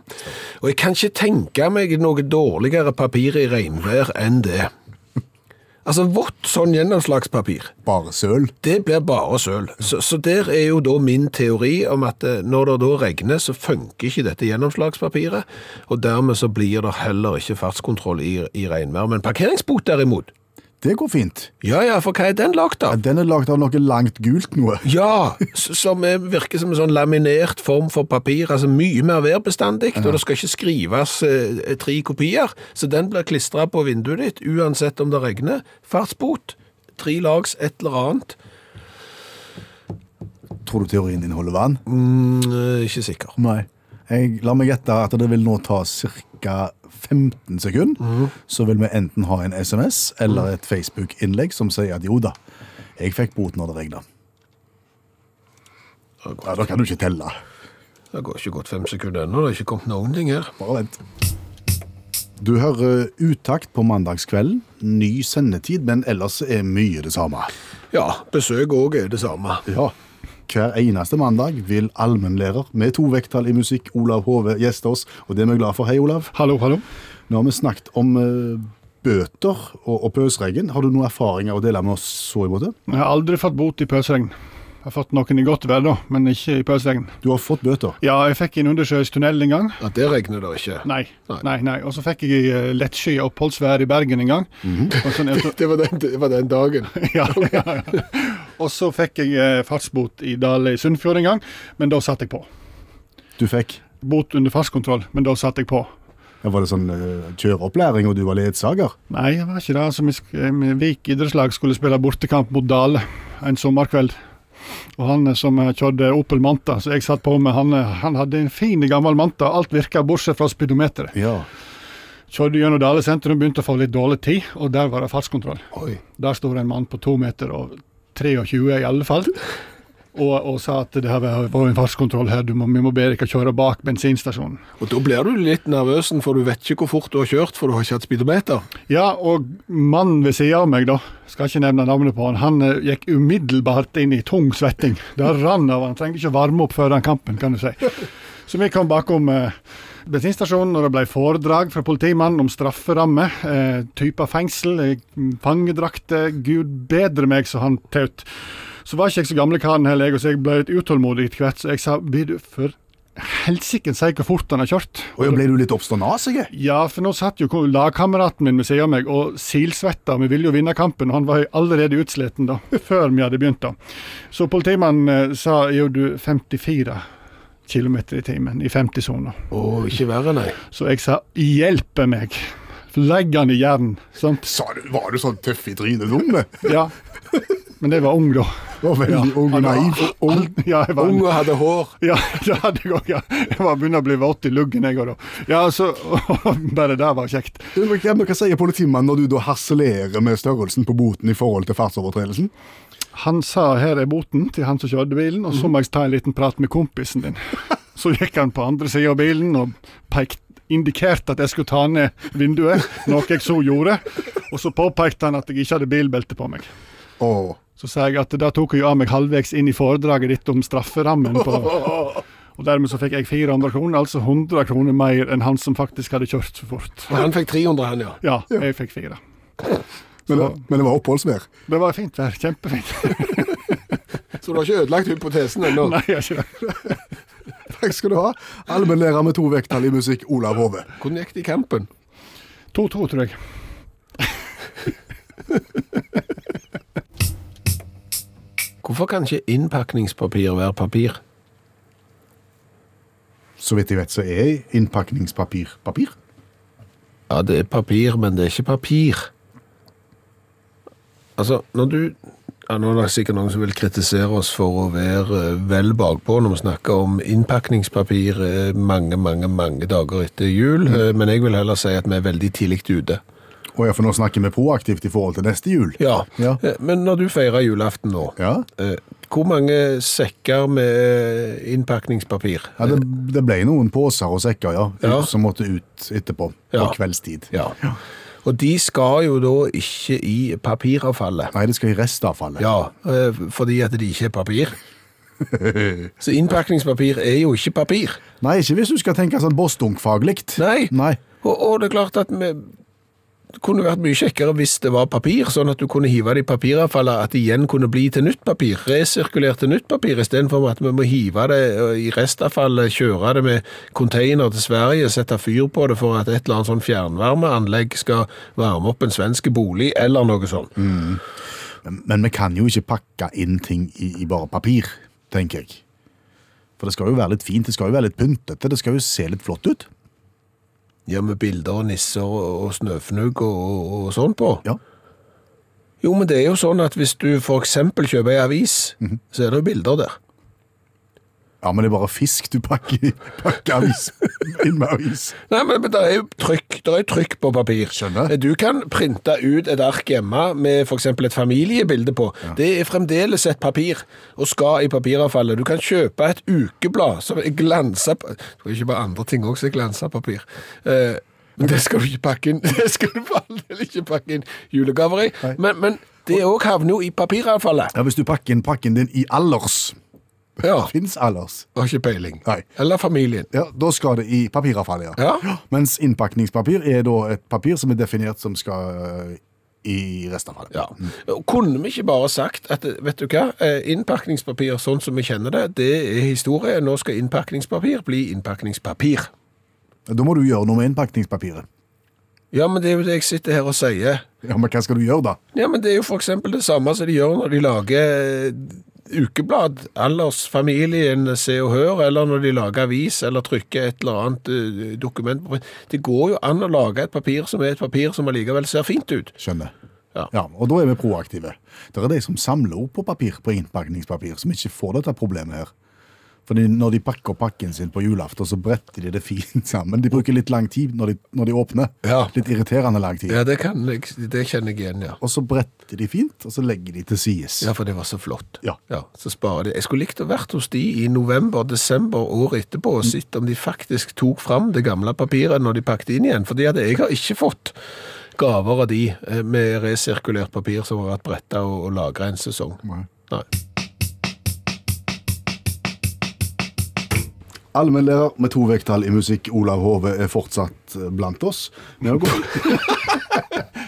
Speaker 3: Og jeg kan ikke tenke meg noe dårligere papir i regnvær enn det. Altså vått sånn gjennomslagspapir.
Speaker 2: Bare søl.
Speaker 3: Det blir bare søl. Så, så der er jo da min teori om at eh, når det da regner, så funker ikke dette gjennomslagspapiret, og dermed så blir det heller ikke fartskontroll i, i regnvær. Men parkeringsbot derimot,
Speaker 2: Det går fint.
Speaker 3: ja ja, for hva er den lagd
Speaker 2: Ja,
Speaker 3: av?
Speaker 2: Den er lagd av noe langt gult noe.
Speaker 3: Ja, s- som er, virker som en sånn laminert form for papir, altså mye mer værbestandig, og det skal ikke skrives eh, tre kopier, så den blir klistra på vinduet ditt, uansett om det regner. Fartsbot, tre lags et eller annet,
Speaker 2: Tror du teorien inneholder vann?
Speaker 3: Eh, ikke sikker.
Speaker 2: Nei. Jeg, la meg gjette at det vil nå ta ca. 15 sekunder. Så vil vi enten ha en SMS eller et Facebook-innlegg som sier at jo da, jeg fikk bot når det regna. Ja, da kan du ikke telle.
Speaker 3: Det går ikke gått fem sekunder ennå, det er ikke kommet noen ting her.
Speaker 2: Bare vent. Du hører utakt på mandagskvelden. Ny sendetid, men ellers er mye det samme.
Speaker 3: Ja, besøk òg er det samme.
Speaker 2: Ja. Hver eneste mandag vil allmennlærer med to vekttall i musikk, Olav Hove, gjeste oss. Og det er vi glad for. Hei, Olav.
Speaker 5: Hallo, hallo.
Speaker 2: Nå har vi snakket om eh, bøter og, og pøsregn. Har du noen erfaringer å dele med oss så i måte?
Speaker 6: Jeg har aldri fått bot i pøsregn. Jeg har fått noen i godt vær, da, men ikke i pøsregn.
Speaker 2: Du har fått bøter.
Speaker 6: Ja, jeg fikk i en undersjøisk tunnel en gang.
Speaker 3: Ja, Det regner det ikke.
Speaker 6: Nei,
Speaker 3: Nei.
Speaker 6: nei, nei. Og så fikk jeg i eh, lettsky oppholdsvær i Bergen en gang. og, sånn, jeg-
Speaker 5: Det var den, det var den dagen.
Speaker 6: ja, ja, ja. og så fikk jeg eh, fartsbot i Dale i Sunnfjord en gang, men da satt jeg på.
Speaker 2: Du fikk
Speaker 6: Bot under fartskontroll, men da satt jeg på.
Speaker 2: ja, Var det sånn eh, kjøreopplæring, og du var ledsager?
Speaker 6: Nei, det var ikke det. Altså, vi sk- eh, Vik idrettslag skulle spille bortekamp mot Dale en sommerkveld. Og han eh, som eh, kjørte Opel Manta, som jeg satt på med, han, eh, han hadde en fin gammel Manta. Alt virka bortsett fra speedometeret.
Speaker 2: Ja.
Speaker 6: Kjørte gjennom Dale sentrum, begynte å få litt dårlig tid, og der var det fartskontroll.
Speaker 3: Oi.
Speaker 6: Der sto det en mann på to meter og 23 i alle fall. Og, og sa at det her var var en fartskontroll her, du må, vi må be dere kjøre bak bensinstasjonen.
Speaker 3: Og da blir du litt nervøsen, for du vet ikke hvor fort du har kjørt, for du har ikke hatt speedometer.
Speaker 6: Ja, og mannen ved siden av meg, da, skal ikke nevne navnet på han, han eh, gikk umiddelbart inn i tung svetting. Det rann av han, trengte ikke å varme opp før den kampen, kan du si. Så vi kom bakom eh, bensinstasjonen, og det ble foredrag fra politimannen om strafferamme, eh, typer fengsel, eh, fangedrakter, gud bedre meg, så han taut. Så var ikke jeg så gamle karen heller, jeg, og så jeg ble litt utålmodig etter hvert, så jeg sa, blir du for helsiken si hvor fort han har kjørt?
Speaker 2: Og ble du litt oppstånasig?
Speaker 6: Ja, for nå satt jo lagkameraten min ved siden av meg og silsvetta. Vi ville jo vinne kampen, og han var jo allerede utsliten da, før vi hadde begynt. da. Så politimannen eh, sa jo du 54 km i timen i 50-sona.
Speaker 3: Å, ikke verre, nei.
Speaker 6: Så jeg sa hjelpe meg, legg han i jern. Sant?
Speaker 2: Sa du, var du sånn tøff i trynet dum? Du
Speaker 6: Ja. Men jeg var ung da.
Speaker 2: var veldig ung og
Speaker 6: Han var-
Speaker 2: naiv.
Speaker 6: Ung, ja, jeg var
Speaker 3: Ung og hadde hår.
Speaker 6: Ja, det hadde jeg òg. Ja. Jeg var begynner å bli våt i luggen, jeg òg da. Ja, så Bare det var kjekt.
Speaker 2: Du, men Hva men hva sier politimannen når du da harselerer med størrelsen på boten i forhold til fartsovertredelsen?
Speaker 6: Han sa her er boten til han som kjørte bilen, og så må jeg ta en liten prat med kompisen din. Så gikk han på andre sida av bilen og pekt, indikerte at jeg skulle ta ned vinduet, noe jeg så gjorde. Og så påpekte han at jeg ikke hadde bilbelte på meg.
Speaker 2: Åh,
Speaker 6: Så sa jeg at da tok jeg av meg halvveis inn i foredraget ditt om strafferammen på Og dermed så fikk jeg 400 kroner, altså 100 kroner mer enn han som faktisk hadde kjørt så fort.
Speaker 3: Og han fikk 300, han, ja.
Speaker 6: Ja, jeg fikk fire.
Speaker 2: men, det, men det var oppholdsvær.
Speaker 6: Det var fint vær. Kjempefint.
Speaker 3: Så du har ikke ødelagt hypotesen ennå.
Speaker 6: Nei, jeg har ikke det.
Speaker 2: Takk skal du ha. Allmennlærer med to vekttall i musikk, Olav Hove.
Speaker 3: Hvordan gikk det i kampen?
Speaker 6: 2-2, tror jeg.
Speaker 3: Hvorfor kan ikke innpakningspapir være papir?
Speaker 2: Så vidt jeg vet, så er innpakningspapir papir.
Speaker 3: Ja, det er papir, men det er ikke papir. Altså, når du ja, Nå er det sikkert noen som vil kritisere oss for å være eh, vel bakpå når vi snakker om innpakningspapir eh, mange, mange mange dager etter jul, eh, men jeg vil heller si at vi er veldig tidlig ute.
Speaker 2: Og ja, for nå snakker vi proaktivt i forhold til neste jul.
Speaker 3: Ja.
Speaker 2: Ja.
Speaker 3: Eh, Men når du feirer julaften nå,
Speaker 2: Ja,
Speaker 3: eh, hvor mange sekker med eh, innpakningspapir?
Speaker 2: ja det, det ble noen poser og sekker, ja,
Speaker 3: Ja.
Speaker 2: som måtte ut etterpå, på
Speaker 3: Ja.
Speaker 2: kveldstid.
Speaker 3: Ja. Og de skal jo da ikke i papiravfallet.
Speaker 2: Nei, det skal i restavfallet.
Speaker 3: Ja, eh, fordi at det ikke er papir. Så innpakningspapir er jo ikke papir.
Speaker 2: Nei, ikke hvis du skal tenke sånn bossdunkfaglikt.
Speaker 3: Nei.
Speaker 2: Nei.
Speaker 3: Og, og det er klart at vi det kunne vært mye kjekkere hvis det var papir, sånn at du kunne hive det i papiravfallet, at det igjen kunne bli til nytt papir, resirkulert til nytt papir, istedenfor at vi må hive det eh, i restavfallet, kjøre det med container til Sverige, sette fyr på det for at et eller annet sånn fjernvarmeanlegg skal varme opp en svensk bolig, eller noe sånt.
Speaker 2: Men vi kan jo ikke pakke inn ting i, i bare papir, tenker jeg. For det skal jo være litt fint, det skal jo være litt pyntete, det skal jo se litt flott ut.
Speaker 3: Ja, med bilder og nisser og, og snøfnugg og, og, og sånn på.
Speaker 2: Ja.
Speaker 3: Jo, men det er jo sånn at hvis du for eksempel kjøper ei avis, så er det jo bilder der.
Speaker 2: Ja, men det er bare fisk du pakker, pakker avis inn med avis.
Speaker 3: Nei, men, men det er jo trykk, det er jo trykk på papir. Eh,
Speaker 2: Skjønner.
Speaker 3: Du kan printe ut et ark hjemme med for eksempel et familiebilde på. Det er fremdeles et papir, og skal i papiravfallet. Du kan kjøpe et ukeblad som er glansa på. Du kan kjøpe andre ting også som er glansa papir. Eh, men det skal du ikke pakke inn. Det skal du for all del ikke pakke inn julegaver i. Men, men det òg havner jo i papiravfallet.
Speaker 2: Ja, hvis du pakker inn pakken din i alders,
Speaker 3: Ja,
Speaker 2: fins alders.
Speaker 3: har ikke peiling.
Speaker 2: Nei.
Speaker 3: Eller familien.
Speaker 2: Ja, da skal det i papiravfallet, ja.
Speaker 3: Ja.
Speaker 2: Mens innpakningspapir er da et papir som er definert som skal eh, i restavfallet.
Speaker 3: Ja. Og Kunne vi ikke bare sagt at vet du hva, eh, innpakningspapir sånn som vi kjenner det, det er historie. Nå skal innpakningspapir bli innpakningspapir.
Speaker 2: Da må du gjøre noe med innpakningspapiret.
Speaker 3: Ja, men det er jo det jeg sitter her og sier.
Speaker 2: Ja, men hva skal du gjøre da?
Speaker 3: Ja, men det er jo for eksempel det samme som de gjør når de lager eh, ukeblad, aldersfamilien, Se og Hør, eller når de lager avis, eller trykker et eller annet eh, dokument. på print. Det går jo an å lage et papir som er et papir som allikevel ser fint ut.
Speaker 2: Skjønner.
Speaker 3: Ja.
Speaker 2: og da er vi proaktive. Det er de som samler opp på papir på innpakningspapir, som ikke får dette problemet her. Fordi når de pakker pakken sin på julaften, så bretter de det fint sammen. De bruker litt lang tid når de, når de åpner.
Speaker 3: Ja.
Speaker 2: Litt irriterende lang tid.
Speaker 3: Ja, det, kan jeg, det kjenner jeg igjen, ja.
Speaker 2: Og så bretter de fint, og så legger de til sides.
Speaker 3: Ja, for det var så flott.
Speaker 2: Ja.
Speaker 3: så sparer de. Jeg skulle likt å vært hos de i november, desember året etterpå og sett om de faktisk tok fram det gamle papiret når de pakket inn igjen. For det hadde jeg har ikke fått gaver av de eh, med resirkulert papir som har vært bretta og, og lagra en sesong.
Speaker 2: Nei.
Speaker 3: Nei.
Speaker 2: Allmennlærer med to vekttall i musikk, Olav Hove, er fortsatt eh, blant oss. Vi har gått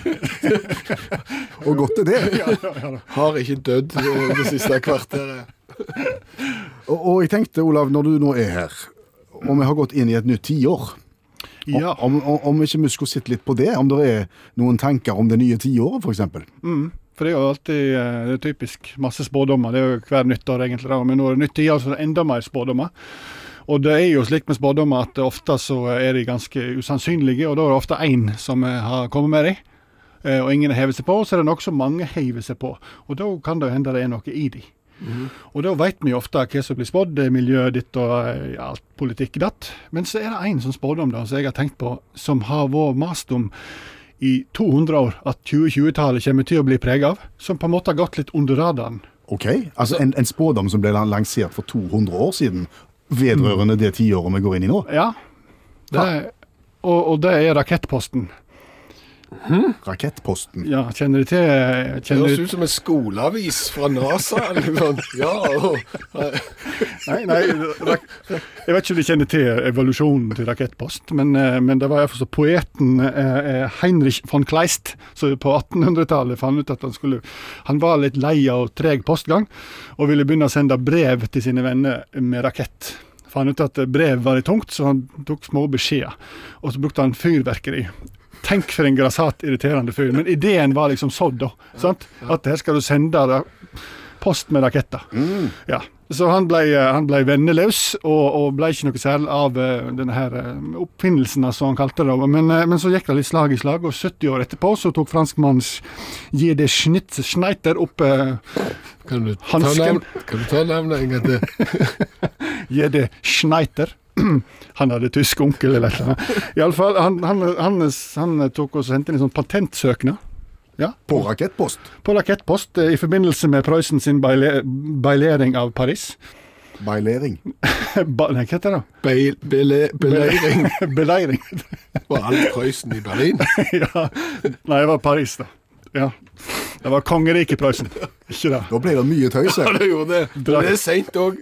Speaker 2: Og godt er det.
Speaker 3: Har ikke dødd eh, det siste kvarteret.
Speaker 2: Og, og jeg tenkte, Olav, når du nå er her, og vi har gått inn i et nytt tiår
Speaker 6: Ja.
Speaker 2: Om, om, om ikke vi skulle sett litt på det, om det er noen tanker om det nye tiåret, f.eks.
Speaker 6: Mm. For det er jo alltid eh, det er typisk masse spådommer. Det er jo hver nyttår, egentlig. Da. Men nå er det nytt tiår, så det er enda mer spådommer. Og det er jo slik med spådommer at ofte så er de ganske usannsynlige, og da er det ofte én som eh, har kommet med dem. Eh, Og ingen har hevet seg på, så er det nokså mange heiver seg på. Og da kan det jo hende det er noe i dem. Og da veit vi jo ofte hva som blir spådd, eh, miljø ditt og eh, ja, alt politikk datt. Men så er det én sånn spådom da, som jeg har tenkt på, som har vært mast om i 200 år at 2020-tallet kommer til å bli preget av, som på en måte har gått litt under radaren.
Speaker 2: Ok, altså en, en spådom som ble lan- lansert for 200 år siden, vedrørende det tiåret vi går inn i nå.
Speaker 6: Ja, det, og, og det er rakettposten.
Speaker 2: Rakettposten.
Speaker 6: Ja, kjenner du til kjenner
Speaker 3: Høres
Speaker 6: du,
Speaker 3: ut som en skoleavis fra NASA. eller noe sånt. Ja, og,
Speaker 6: Nei, nei, rak, jeg vet ikke om du kjenner til evolusjonen til rakettpost, men, eh, men det var iallfall så poeten eh, eh, Heinrich von Kleist som på 1800-tallet fant ut at han skulle Han var litt lei av treg postgang, og ville begynne å sende brev til sine venner med rakett. Fant ut at brev var litt tungt, så han tok små beskjeder. Og så brukte han fyrverkeri. Tenk for en grassat irriterende fyr. Men ideen var liksom sådd, da. Sant? At her skal du sende ra- post med raketter. Ja. Så han ble, eh, han ble venneløs, og, og ble ikke noe særlig av eh, denne her eh, oppfinnelsen, altså han kalte det. Men, eh, men så gikk det litt slag i slag, og 70 år etterpå så tok franskmannen Jede Schnitz Schneider opp eh,
Speaker 3: kan, du
Speaker 6: Hansken.
Speaker 3: kan du ta navnet en gang til?
Speaker 6: Jede Schneider Han hadde tysk onkel eller et eller annet. Iallfall, han, han, han, han tok og sendte inn en sånn patentsøknad. Ja,
Speaker 2: På rakettpost.
Speaker 6: på rakettpost eh, i forbindelse med Prøysen sin baile bailering av Paris.
Speaker 2: Bailering.
Speaker 6: Ba nei, hva heter det? da?
Speaker 3: Beil- bele- Beleiring
Speaker 6: Beleiring.
Speaker 3: var all Prøysen i Berlin.
Speaker 6: ja. Nei, det var Paris, da. Ja. Det var kongeriket Prøysen. Ikke det.
Speaker 2: Da ble det mye tøys her.
Speaker 3: Det gjorde det. Men Det er seint òg.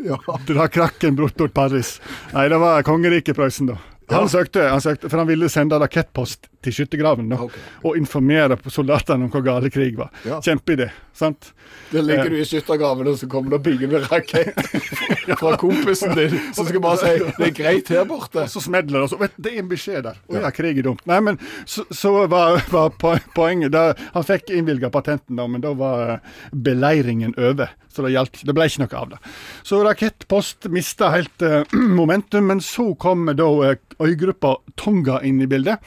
Speaker 6: Dra krakken bort mot Paris. Nei, det var kongeriket Prøysen, da. Han, søkte, han søkte, for han ville sende rakettpost til skyttergraven da,
Speaker 3: Ok.
Speaker 6: og informere soldatene om hvor gale krig var.
Speaker 2: Ja.
Speaker 6: Kjempeidé, sant?
Speaker 3: Der ligger du i skyttergraven, og så kommer det bingende rakett fra kompisen din. Så skal bare si 'det er greit her borte'.
Speaker 6: Så smedler det, og så vet, Det er en beskjed der. Å ja, krig er dumt. Nei, men så, så var, var po- poenget da, Han fikk innvilga patenten, da, men da var eh, beleiringen over. Så det hjalp ikke. Det ble ikke noe av det. Så Rakettpost mista helt eh, momentum, men så kom da eh, øygruppa Tonga inn i bildet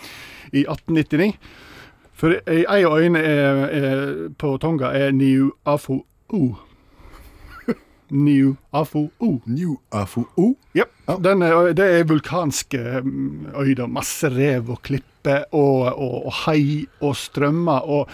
Speaker 6: i 1899. For ei ei av øyene er, er, på Tonga er Niuafu-u. Niuafu-u.
Speaker 2: New AFO.
Speaker 6: Yep. Den er, det er vulkanske mm, øy, da. Masse rev og klipper og, og, og hai og strømmer. Og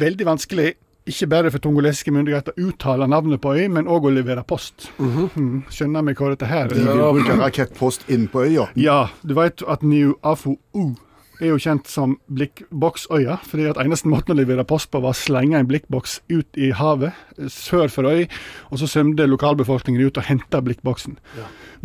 Speaker 6: veldig vanskelig, ikke bare for tongolesiske myndigheter, å uttale navnet på øy, men òg å levere post. Mm, skjønner vi hva dette her
Speaker 2: De vil bruke rakettpost inn på øya.
Speaker 6: Ja, du veit at New Afo U er jo kjent som blikkboksøya, fordi at eneste måten å levere post på var å slenge en blikkboks ut i havet eh, sør for øy, og så sømde lokalbefolkningen ut og henta blikkboksen.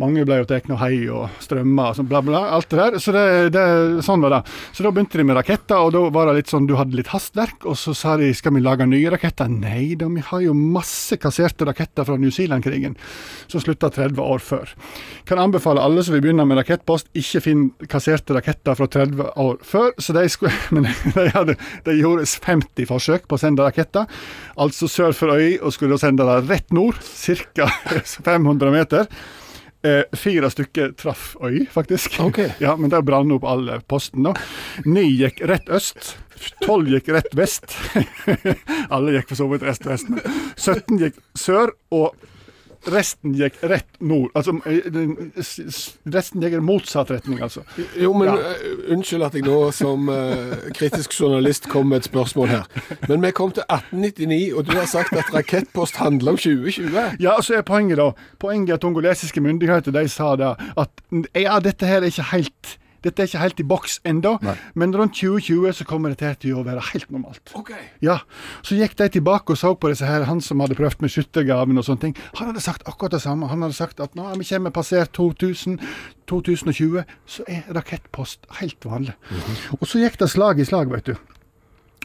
Speaker 6: Mange ble jo tatt av hei og strømmer og sånn bla, bla, alt det der. Så det, det, sånn var det. Så da begynte de med raketter, og da var det litt sånn du hadde litt hastverk, og så sa de skal vi lage nye raketter? Nei da, vi har jo masse kasserte raketter fra New Zealand-krigen som slutta 30 år før. Kan anbefale alle som vil begynne med rakettpost, ikke finn kasserte raketter fra 30 år før. Så de, skulle, men de, hadde, de gjorde 50 forsøk på å sende raketter, altså sør for øy, og skulle da sende det rett nord, ca. 500 meter. Eh, fire stykker traff øy, faktisk.
Speaker 3: Ok.
Speaker 6: Ja, Men der brann opp all posten. da. Ni gikk rett øst. Tolv gikk rett vest. alle gikk for så vidt rest vest. men 17 gikk sør, og Resten gikk rett nord. Altså, eh, den- s- s- resten gikk i motsatt retning, altså.
Speaker 3: Jo, men
Speaker 6: Ja.
Speaker 3: eh, unnskyld at jeg nå som eh, kritisk journalist kom med et spørsmål her. Men vi kom til 1899, og du har sagt at rakettpost handler om 2020.
Speaker 6: Ja, så er poenget da Poenget er at tongolesiske myndigheter de sa da at n- ja, dette her er ikke helt dette er ikke helt i boks ennå,
Speaker 2: Nei.
Speaker 6: men rundt 2020 så kommer dette her til å være helt normalt.
Speaker 3: OK.
Speaker 6: Ja, Så gikk de tilbake og så på disse her, han som hadde prøvd med skyttergraven og sånne ting. Han hadde sagt akkurat det samme. Han hadde sagt at nå har vi kommer passert 2000, 2020, så er rakettpost helt vanlig. Og så gikk det slag i slag, vet du.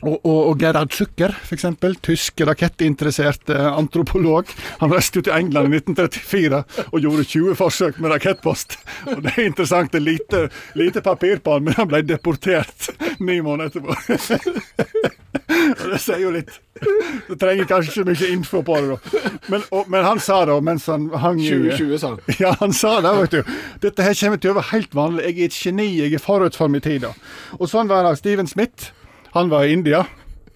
Speaker 6: Og, og, og Gerhard Zucker, f.eks., tysk rakettinteressert eh, antropolog. Han reiste jo til England i 1934 og gjorde 20 forsøk med rakettpost. Og Det er interessant. Det er lite, lite papir på han, men han ble deportert ni måneder etterpå. Og det sier jo litt. Du trenger kanskje ikke mye info på det, da. Men, og, men han sa da, mens han hang i-
Speaker 3: 2020, sa han.
Speaker 6: ja, han sa det, vet du. Dette her kommer til å være helt vanlig. Jeg er et geni, jeg er forut for min tid. da. Og sånn var det. Steven Smith, han var i India.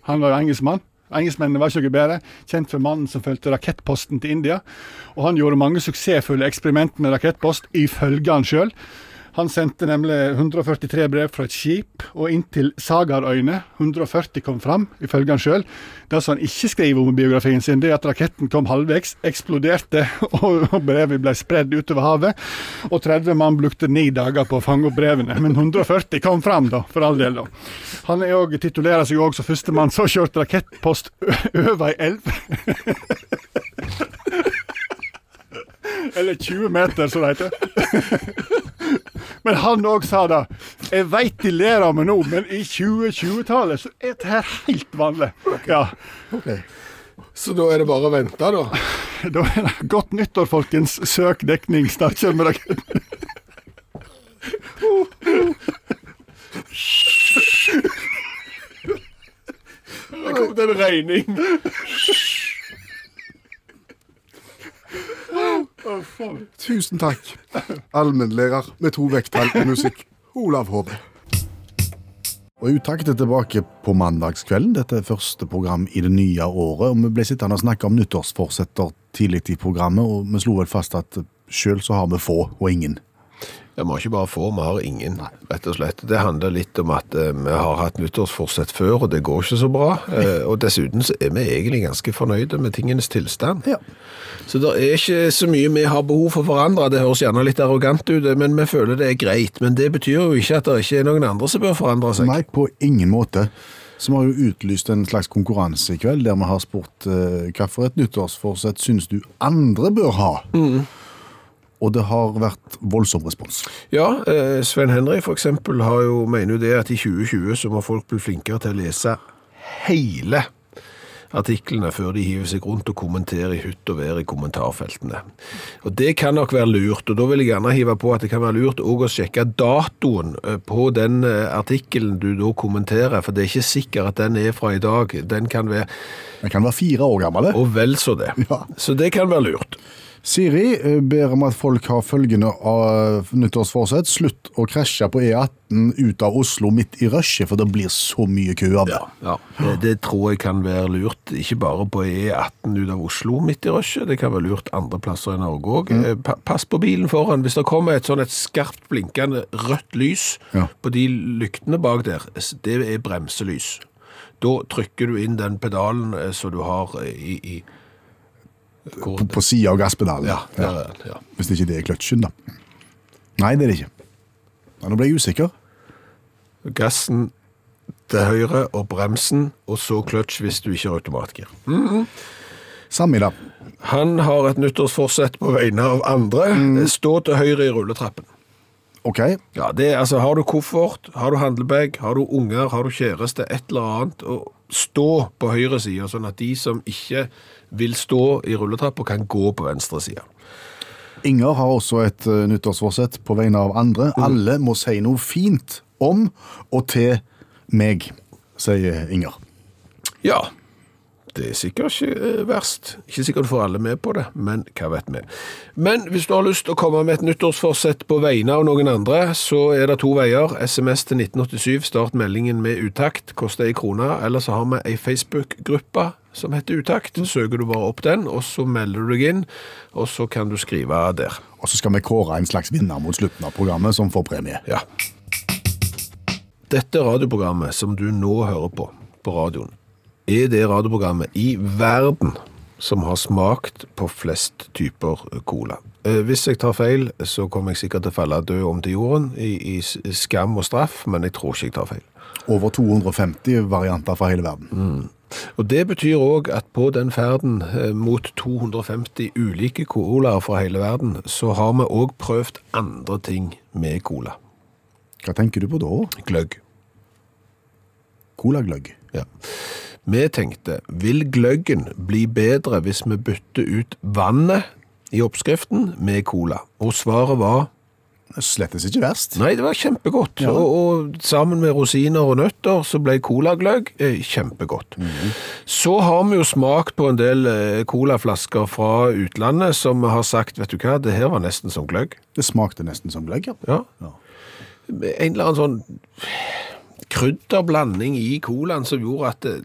Speaker 6: Han var jo engelskmann. Engelskmennene var ikke noe bedre. Kjent for mannen som fulgte rakettposten til India. Og han gjorde mange suksessfulle eksperiment med rakettpost, ifølge han sjøl. Han sendte nemlig 143 brev fra et skip og inn til Sagarøyene. 140 kom fram, ifølge han sjøl. Det som han ikke skriver om i biografien sin, det er at raketten kom halvveis, eksploderte, og og brevet ble spredd utover havet. Og 30 mann brukte ni dager på å fange opp brevene, men 140 kom fram, da, for all del. da. Han er også, titulerer seg òg som førstemann som har kjørt rakettpost ø- over ei elv. Eller 20 meter, som det heter. Men han òg sa det. Jeg veit de ler av meg nå, men i 2020-tallet så er dette her helt vanlig. Ja,
Speaker 3: Så da er det bare å vente, da.
Speaker 6: da er det Godt nyttår, folkens. Søk dekning. Snart kommer dere.
Speaker 3: Det kom til en regning.
Speaker 2: Tusen takk, allmennlærer med to vekttall i musikk, Olav Hove. Og Utakt er tilbake på mandagskvelden. Dette er første program i det nye året. og Vi ble sittende og snakke om nyttårsforsetter tidlig i programmet, og vi slo vel fast at sjøl så har vi få og ingen.
Speaker 3: Ja, Vi har ikke bare få, vi har ingen, rett og slett. Det handler litt om at eh, vi har hatt nyttårsforsett før, og det går ikke så bra. Eh, og dessuten så er vi egentlig ganske fornøyde med tingenes tilstand.
Speaker 2: Ja.
Speaker 3: Så det er ikke så mye vi har behov for å forandre. Det høres gjerne litt arrogant ut, men vi føler det er greit. Men det betyr jo ikke at det ikke er noen andre som bør forandre seg.
Speaker 2: Nei, på ingen måte. Så vi har jo utlyst en slags konkurranse i kveld, der vi har spurt eh, hva for et nyttårsforsett syns du andre bør ha?
Speaker 3: Mm.
Speaker 2: Og det har vært voldsom respons.
Speaker 3: Ja, eh, Sven Henry for eksempel har jo, mener jo det at i 2020 så må folk bli flinkere til å lese hele artiklene før de hiver seg rundt og kommenterer i hytt og vær i kommentarfeltene. Og det kan nok være lurt, og da vil jeg gjerne hive på at det kan være lurt også å sjekke datoen eh, på den eh, artikkelen du da kommenterer, for det er ikke sikkert at den er fra i dag. Den kan være,
Speaker 2: Vi kan være fire år gamle.
Speaker 3: og vel så det.
Speaker 2: Ja.
Speaker 3: Så det kan være lurt.
Speaker 2: Siri eh, ber om at folk har følgende av nyttårsforsett. Slutt å krasje på E18 ut av Oslo midt i rushet, for det blir så mye kø av det.
Speaker 3: Ja, det, det tror jeg kan være lurt, ikke bare på E18 ut av Oslo midt i rushet, det kan være lurt andre plasser i Norge òg. Pa, pass på bilen foran. Hvis det kommer et sånn et skarpt blinkende rødt lys
Speaker 2: Ja.
Speaker 3: på de lyktene bak der, s- det er bremselys. Da trykker du inn den pedalen eh, som du har i, i hvor,
Speaker 2: På, på sida av gasspedalen.
Speaker 3: Ja, der er den. Ja.
Speaker 2: Hvis ikke det er kløtsjen, da. Nei, det er det ikke. Ja, nå ble jeg usikker.
Speaker 3: Gassen til høyre og bremsen, og så kløtsj hvis du ikke har automatgir.
Speaker 2: Samme i dag.
Speaker 3: Han har et nyttårsforsett på vegne av andre. Eh, Stå til høyre i rulletrappen.
Speaker 2: OK.
Speaker 3: Mm. Ja, det er, altså, Har du koffert, har du handlebag, har du unger, har du kjæreste, et eller annet, og stå på høyre side, sånn at de som ikke vil stå i rulletrappa, kan gå på venstre side.
Speaker 2: Inger har også et eh, nyttårsforsett på vegne av andre.
Speaker 3: Mhm.
Speaker 2: Alle må si noe fint om og til meg, sier Inger.
Speaker 3: Ja, det er sikkert ikke eh, verst. Ikke sikkert du får alle med på det, men hva vet vi. Men hvis du har lyst til å komme med et nyttårsforsett på vegne av noen andre, så er det to veier. SMS til 1987, start meldingen med utakt, koster ei krone. Eller så har vi ei Facebook-gruppe som heter Utakt. Søker du bare opp den, og så melder du deg inn, og så kan du skrive der.
Speaker 2: Og så skal vi kåre en slags vinner mot slutten av programmet, som får premie.
Speaker 3: Ja. Dette radioprogrammet som du nå hører på på radioen, er det radioprogrammet i verden som har smakt på flest typer cola. Eh, Hvis jeg tar feil, så kommer jeg sikkert til å falle død om til jorden i, i s- skam og straff, men jeg tror ikke jeg tar feil.
Speaker 2: Over 250 varianter fra hele verden.
Speaker 3: Mhm. Og Det betyr òg at på den ferden eh, mot 250 ulike colaer fra hele verden, så har vi òg prøvd andre ting med cola.
Speaker 2: Hva tenker du på da?
Speaker 3: Gløgg.
Speaker 2: Colagløgg.
Speaker 3: Ja. Vi tenkte, vil gløggen bli bedre hvis vi bytter ut vannet i oppskriften med cola? Og svaret var,
Speaker 2: Slettes ikke verst.
Speaker 3: nei, det var kjempegodt. Og, og sammen med rosiner og nøtter så ble colagløgg eh, kjempegodt. Så har vi jo smakt på en del eh, colaflasker fra utlandet som har sagt, vet du hva, det her var nesten som gløgg.
Speaker 2: Det smakte nesten som gløgg. ja.
Speaker 3: Ja.
Speaker 2: Ja.
Speaker 3: En eller annen sånn krydderblanding i colaen som gjorde at det,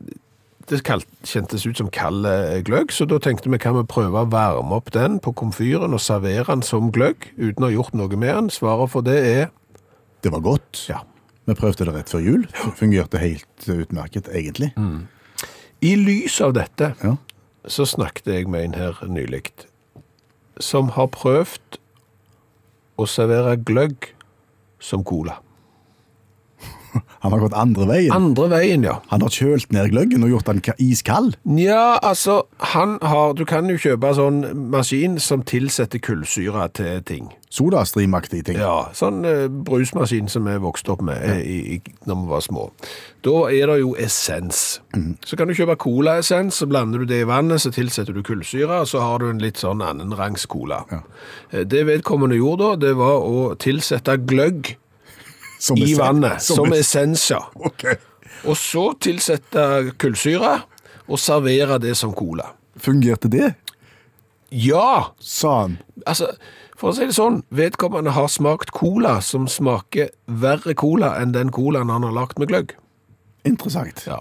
Speaker 3: det kalt, kjentes ut som kald eh, gløgg, så da tenkte vi kan vi prøve å varme opp den på komfyren og servere den som gløgg uten å ha gjort noe med den. Svaret for det er
Speaker 2: Det var godt.
Speaker 3: ja.
Speaker 2: Vi prøvde det rett før jul. Fungerte helt eh, utmerket, egentlig.
Speaker 3: Mm. I lys av dette
Speaker 2: Ja.
Speaker 3: så snakket jeg med en her nylig som har prøvd å servere gløgg som cola.
Speaker 2: Han har gått andre veien.
Speaker 3: Andre veien, ja.
Speaker 2: Han har kjølt ned gløggen og gjort den ka- iskald.
Speaker 3: Nja, altså, han har Du kan jo kjøpe sånn maskin som tilsetter kullsyre til ting.
Speaker 2: Sodastreamaktige ting.
Speaker 3: Ja, sånn eh, brusmaskin som vi vokste opp med eh, i, i, når vi var små. Da er det jo essens. Så kan du kjøpe colaessens, så blander du det i vannet, så tilsetter du kullsyre, og så har du en litt sånn annenrangs cola. Eh, Det vedkommende gjorde da, det var å tilsette gløgg
Speaker 2: Som
Speaker 3: i
Speaker 2: er-
Speaker 3: vannet, som,
Speaker 2: er-
Speaker 3: essens, ja.
Speaker 2: Ok.
Speaker 3: Og så tilsette kullsyre, og servere det som cola.
Speaker 2: Fungerte det?
Speaker 3: Ja!
Speaker 2: Sa han.
Speaker 3: Altså, for å si det sånn, vedkommende har smakt cola som smaker verre cola enn den colaen han har lagt med gløgg.
Speaker 2: Interessant.
Speaker 3: Ja.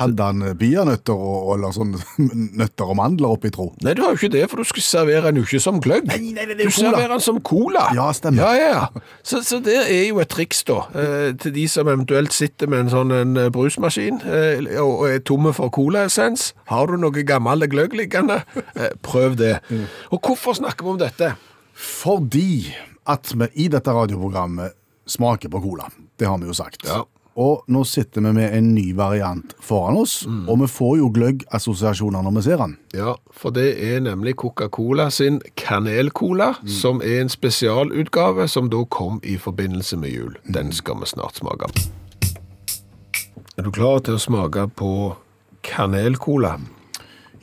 Speaker 2: Hadde han eh, peanøtter og, og- eller sånn nøtter og mandler oppi, tro?
Speaker 3: Nei, du har jo ikke det, for du skal servere den jo ikke som gløgg.
Speaker 2: Nei, nei, nei, det er jo
Speaker 3: du
Speaker 2: cola.
Speaker 3: serverer den som cola.
Speaker 2: Ja, stemmer.
Speaker 3: Ja, ja, ja. Så, så det er jo et triks, da, eh, til de som eventuelt sitter med en sånn en eh, brusmaskin eh, og og er tomme for colaessens. Har du noe gammel gløgg liggende, eh, prøv det.
Speaker 2: Mm.
Speaker 3: Og hvorfor snakker vi om dette?
Speaker 2: Fordi at vi i dette radioprogrammet smaker på cola. Det har vi jo sagt.
Speaker 3: Ja.
Speaker 2: Og nå sitter vi med en ny variant foran oss, og vi får jo gløgg-assosiasjoner når vi ser den.
Speaker 5: Ja, for det er nemlig Coca-Cola sin kanelcola, som er en spesialutgave som da kom i forbindelse med jul. Den skal vi snart smake.
Speaker 3: Er du klar til å smake på kanelcola?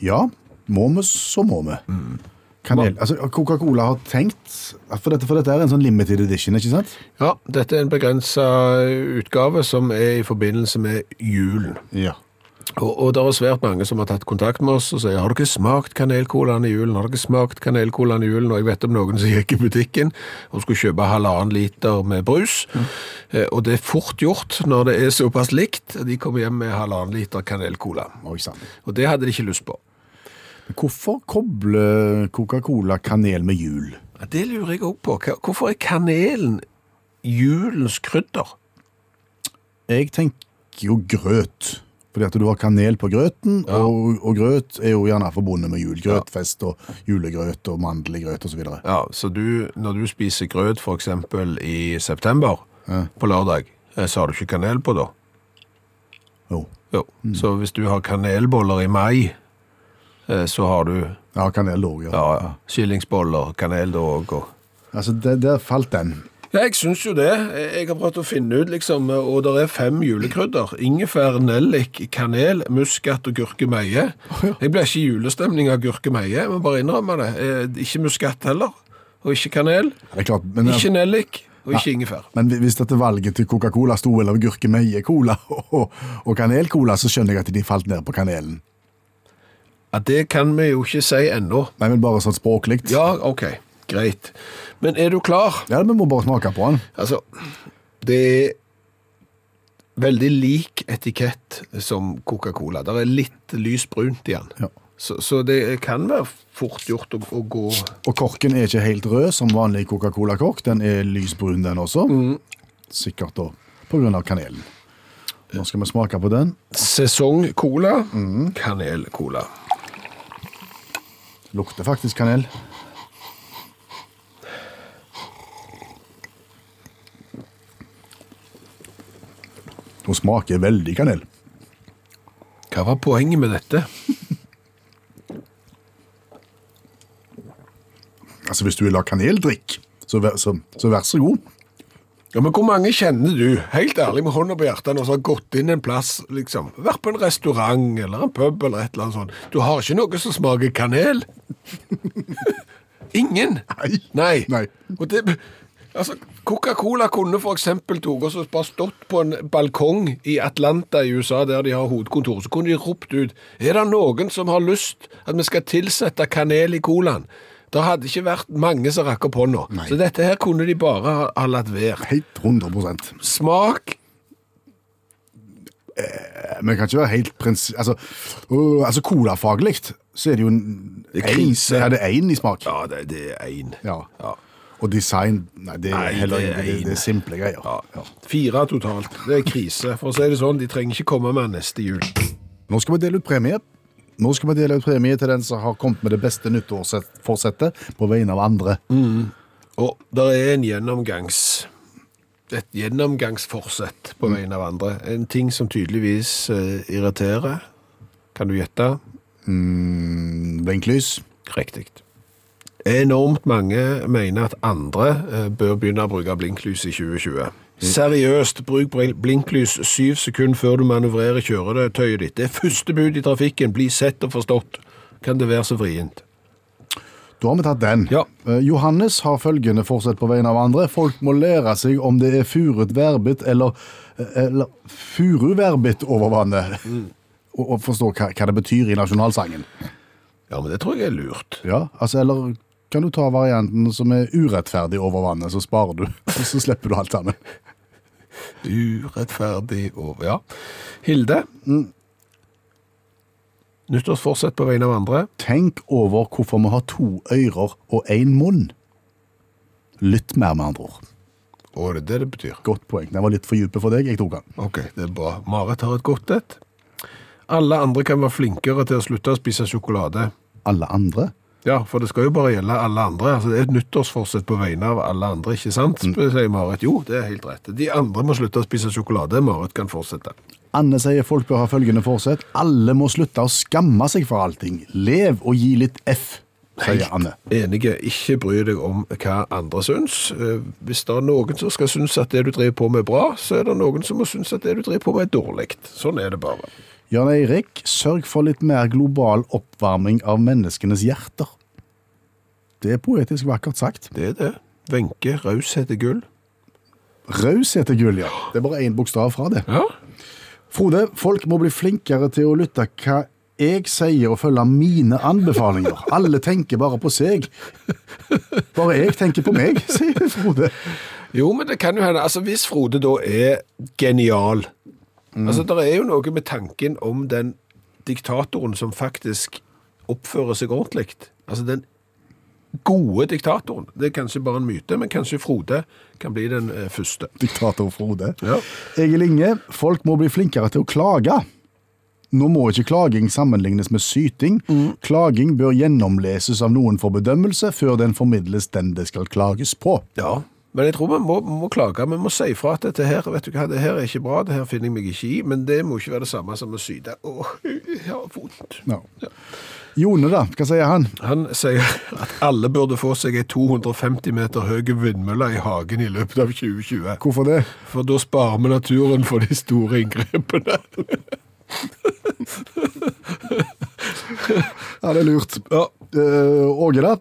Speaker 2: Ja, må vi, så må vi. Kanel, altså Coca-Cola har tenkt for dette, for dette er en sånn limited edition, ikke sant?
Speaker 5: Ja, dette er en begrensa utgave som er i forbindelse med julen.
Speaker 2: Ja.
Speaker 5: Og, og det er svært mange som har tatt kontakt med oss og sier har dere smakt kanelcolaen i julen? Har dere smakt kanelcolaen i julen? Og jeg vet om noen som gikk i butikken og skulle kjøpe halvannen liter med brus. Eh, og det er fort gjort når det er såpass likt. De kommer hjem med halvannen liter kanelcola.
Speaker 2: Oi sann.
Speaker 5: Og det hadde de ikke lyst på.
Speaker 2: Hvorfor koble Coca-Cola kanel med jul?
Speaker 5: Ja, Det lurer jeg òg på. Hva- Hvorfor er kanelen julens krydder?
Speaker 2: Jeg tenker jo grøt. Fordi at du har kanel på grøten, og, og grøt er jo gjerne forbundet med jul. Grøtfest og julegrøt og mandelgrøt osv.
Speaker 5: Ja, så du, når du spiser grøt for eksempel i september på lørdag, eh, så har du ikke kanel på da?
Speaker 2: Jo.
Speaker 5: Jo,
Speaker 3: Mm.
Speaker 5: så hvis du har kanelboller i mai, eh, så har du
Speaker 2: Ja, kanel lå, ja.
Speaker 5: ja, ja, skillingsboller, kanel da òg. og-
Speaker 2: Altså, det, der falt den.
Speaker 3: Ja, jeg syns jo det. Jeg har prøvd å finne ut, liksom, og det er fem julekrydder. Ingefær, nellik, kanel, muskat og gurkemeie. Jeg ble ikke i julestemning av gurkemeie, jeg må bare innrømme det. Eh, Ikke muskat heller, og ikke kanel.
Speaker 2: Ja, Det er klart, men,
Speaker 3: Ikke nellik, og ikke ingefær.
Speaker 2: men hvis dette valget til Coca-Cola sto mellom gurkemeie-cola og, og kanel-cola, så skjønner jeg at de falt ned på kanelen.
Speaker 3: Ja, det kan vi jo ikke si ennå.
Speaker 2: Nei, men bare sånn språklig.
Speaker 3: Ja, OK, greit. Men er du klar?
Speaker 2: Ja, vi må bare smake på den.
Speaker 3: Altså, det er veldig lik etikett som Coca-Cola. Det er litt lysbrunt igjen.
Speaker 2: Ja.
Speaker 3: Så, så det kan være fort gjort å, å gå
Speaker 2: Og korken er ikke helt rød som vanlig Coca-Cola-kork. Den er lysbrun, den også.
Speaker 3: Mm.
Speaker 2: Sikkert da på grunn av kanelen. Nå skal vi smake på den.
Speaker 3: sesong-cola, kanel-cola.
Speaker 2: Lukter faktisk kanel. Hun smaker veldig kanel.
Speaker 3: Hva var poenget med dette?
Speaker 2: Altså Hvis du vil ha kaneldrikk, så vær så, så, vær så god.
Speaker 3: Ja, men Hvor mange kjenner du, helt ærlig med hånda på hjertet, nå som har gått inn en plass, liksom, vært på en restaurant eller en pub eller et eller annet sånt? Du har ikke noe som smaker kanel? Ingen?
Speaker 2: Nei.
Speaker 3: Nei.
Speaker 2: Nei.
Speaker 3: Og det, altså, Coca-Cola kunne for eksempel tog og så bare stått på en balkong i Atlanta i USA, der de har hovedkontor, så kunne de ropt ut, er det noen som har lyst at vi skal tilsette kanel i colaen? Det hadde ikke vært mange som rakk opp hånda.
Speaker 2: Nei.
Speaker 3: Så dette her kunne de bare ha, ha latt være.
Speaker 2: Helt 100
Speaker 3: Smak
Speaker 2: Eh, Men det kan ikke være helt prins... Altså, uh, altså colafaglig så er det jo en,
Speaker 3: Det er krise.
Speaker 2: en- Ja, det er én i smak.
Speaker 3: Ja, det, det er én.
Speaker 2: Ja. Og design Nei, det er
Speaker 3: Nei,
Speaker 2: heller
Speaker 3: det er
Speaker 2: ikke det, det er simple greier. Ja.
Speaker 3: Fire totalt. Det er krise. For å si det sånn, de trenger ikke komme med neste jul.
Speaker 2: Nå skal vi dele ut premie. Nå skal vi dele ut premie til den som har kommet med det beste nyttårsforsettet på vegne av andre.
Speaker 3: Og det er en gjennomgangs... Et gjennomgangsforsett på vegne av andre. En ting som tydeligvis eh, irriterer. Kan du gjette?
Speaker 2: Mm, Blinklys.
Speaker 3: Riktig. Enormt mange mener at andre eh, bør begynne å bruke blinklys i 2020. Seriøst, bruk bl- blinklys syv sekunder før du manøvrerer kjøretøyet ditt. Det er første bud i trafikken. Bli sett og forstått. Kan det være så vrient?
Speaker 2: Da har vi tatt den.
Speaker 3: Ja.
Speaker 2: Eh, Johannes har følgende forsett på vegne av andre. Folk må lære seg om det er furet værbitt eller, eh, eller furuværbitt over vannet.
Speaker 3: Mm.
Speaker 2: Og, og forstå hva, hva det betyr i nasjonalsangen.
Speaker 3: Ja, men det tror jeg er lurt.
Speaker 2: Ja, altså, eller kan du ta varianten som er urettferdig over vannet, så sparer du, og så slipper du alt sammen.
Speaker 5: Mm.
Speaker 3: Urettferdig og Ja. Hilde, Nyttårsforsett på vegne av andre.
Speaker 2: Tenk over hvorfor vi har to ører og én munn. Lytt mer, med andre ord.
Speaker 5: Å, det er det det betyr.
Speaker 2: Godt poeng. Den var litt for dype for deg. Jeg tok den.
Speaker 5: Ok.
Speaker 3: Det er bra. Marit har et godt et. Alle andre kan være flinkere til å slutte å spise sjokolade.
Speaker 2: Alle andre?
Speaker 3: Ja, for det skal jo bare gjelde alle andre. Altså, det er et nyttårsforsett på vegne av alle andre, ikke sant? Sier Marit. Jo, det er helt rett. De andre må slutte å spise sjokolade. Marit kan fortsette.
Speaker 2: Anne sier folk bør ha følgende forsett. Alle må slutte å skamme seg for allting. Lev og gi litt F, sier Anne.
Speaker 3: Enige, ikke bry deg om hva andre syns. Eh, Hvis det er noen som skal synes at det du driver på med er bra, så er det noen som må synes at det du driver på med er dårlig. Sånn er det bare.
Speaker 2: Jan Eirik, sørg for litt mer global oppvarming av menneskenes hjerter. Det er poetisk vakkert sagt.
Speaker 3: Det er det. Wenche, raushet er gull.
Speaker 2: Raushet er gull, ja. Det er bare én bokstav fra det.
Speaker 3: Ja.
Speaker 2: Frode, folk må bli flinkere til å lytte hva jeg sier og følge mine anbefalinger. Alle tenker bare på seg. Bare jeg tenker på meg, sier Frode.
Speaker 3: Jo, men det kan jo hende. Altså, hvis Frode da er genial Altså, det er jo noe med tanken om den diktatoren som faktisk oppfører seg ordentlig. Altså, den gode diktatoren. Det er kanskje bare en myte, men kanskje Frode kan bli den eh, første.
Speaker 2: Diktator Frode.
Speaker 3: Ja.
Speaker 2: Egil Inge, folk må bli flinkere til å klage. Nå må ikke klaging sammenlignes med syting.
Speaker 3: Mm.
Speaker 2: Klaging bør gjennomleses av noen for bedømmelse før den formidles den det skal klages på.
Speaker 3: Ja, men jeg tror vi må, må klage. Vi må si fra at dette her, vet du hva, det her er ikke bra, det her finner jeg meg ikke i, men det må ikke være det samme som å syte. Åh, jeg har vondt.
Speaker 2: Ja. Jone, da. Hva sier han?
Speaker 3: Han sier at alle burde få seg ei 250 meter høy vindmølle i hagen i løpet av 2020.
Speaker 2: Hvorfor det?
Speaker 3: For da sparer vi naturen for de store inngrepene.
Speaker 2: Ja, det er lurt.
Speaker 3: Ja,
Speaker 2: Eh, Åge, da.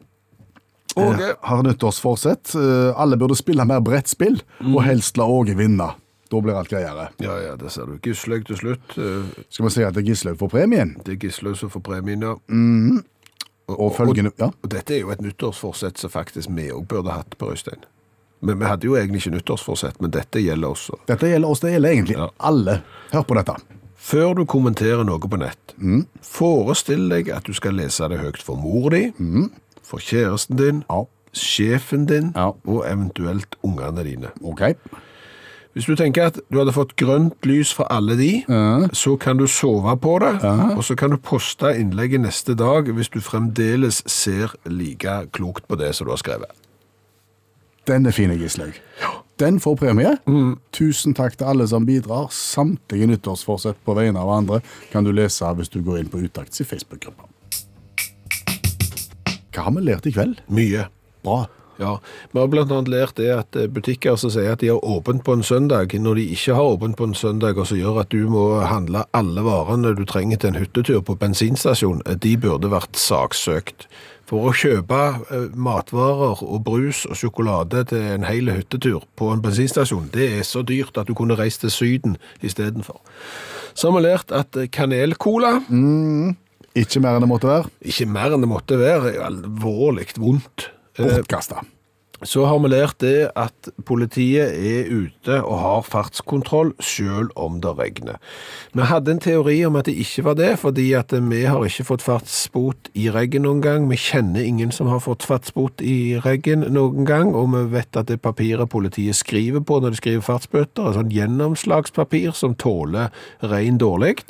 Speaker 3: Åge.
Speaker 2: Eh, Har nyttårsforsett. Eh, alle burde spille mer brettspill,
Speaker 3: Mm.
Speaker 2: og helst la Åge vinne. Da blir alt greiere.
Speaker 3: Ja, ja, det ser du. Gislaug til slutt. Eh,
Speaker 2: Skal vi si at det er Gislaug får premien?
Speaker 3: Det er Gislaug som får premien, ja.
Speaker 2: Mm. Og følgende Ja.
Speaker 3: Og dette er jo et nyttårsforsett som faktisk vi òg burde hatt, Per Øystein. Men vi hadde jo egentlig ikke nyttårsforsett, men dette gjelder også.
Speaker 2: Dette gjelder oss, det gjelder egentlig
Speaker 3: Ja.
Speaker 2: alle. Hør på dette.
Speaker 3: Før du kommenterer noe på nett,
Speaker 2: Mm.
Speaker 3: forestill deg at du skal lese det høyt for mor di, for kjæresten
Speaker 2: Mm.
Speaker 3: din,
Speaker 2: Ja.
Speaker 3: sjefen din
Speaker 2: Ja.
Speaker 3: og eventuelt ungene dine.
Speaker 2: OK.
Speaker 3: Hvis du tenker at du hadde fått grønt lys fra alle de, så kan du sove på det, og så kan du poste innlegget neste dag hvis du fremdeles ser like klokt på det som du har skrevet.
Speaker 2: Den er fin, Gislaug. Den får premie.
Speaker 3: Mm.
Speaker 2: Tusen takk til alle som bidrar. Samtlige nyttårsforsett på vegne av andre kan du lese hvis du går inn på Utakts i Facebook-gruppa. Hva har vi lært i kveld?
Speaker 3: Mye.
Speaker 2: Bra.
Speaker 3: Ja, Vi har blant annet lært det at eh, butikker som sier at de har åpent på en søndag, når de ikke har åpent på en søndag, og som gjør at du må handle alle varene du trenger til en hyttetur på bensinstasjon, eh, de burde vært saksøkt. For å kjøpe eh, matvarer og brus og sjokolade til en hel hyttetur på en bensinstasjon, det er så dyrt at du kunne reist til Syden istedenfor. Så har vi lært at eh, kanelcola
Speaker 2: Ikke mer enn det måtte være.
Speaker 3: Ikke mer enn det måtte være, er alvorlig vondt. Eh,
Speaker 2: Bortkasta.
Speaker 3: så har vi lært det at politiet er ute og har fartskontroll selv om det regner. Vi hadde en teori om at det ikke var det, fordi at vi har ikke fått fartsbot i regn noen gang. Vi kjenner ingen som har fått fartsbot i regn noen gang, og vi vet at det papiret politiet skriver på når de skriver fartsbøter, er sånn gjennomslagspapir som tåler regn dårlig.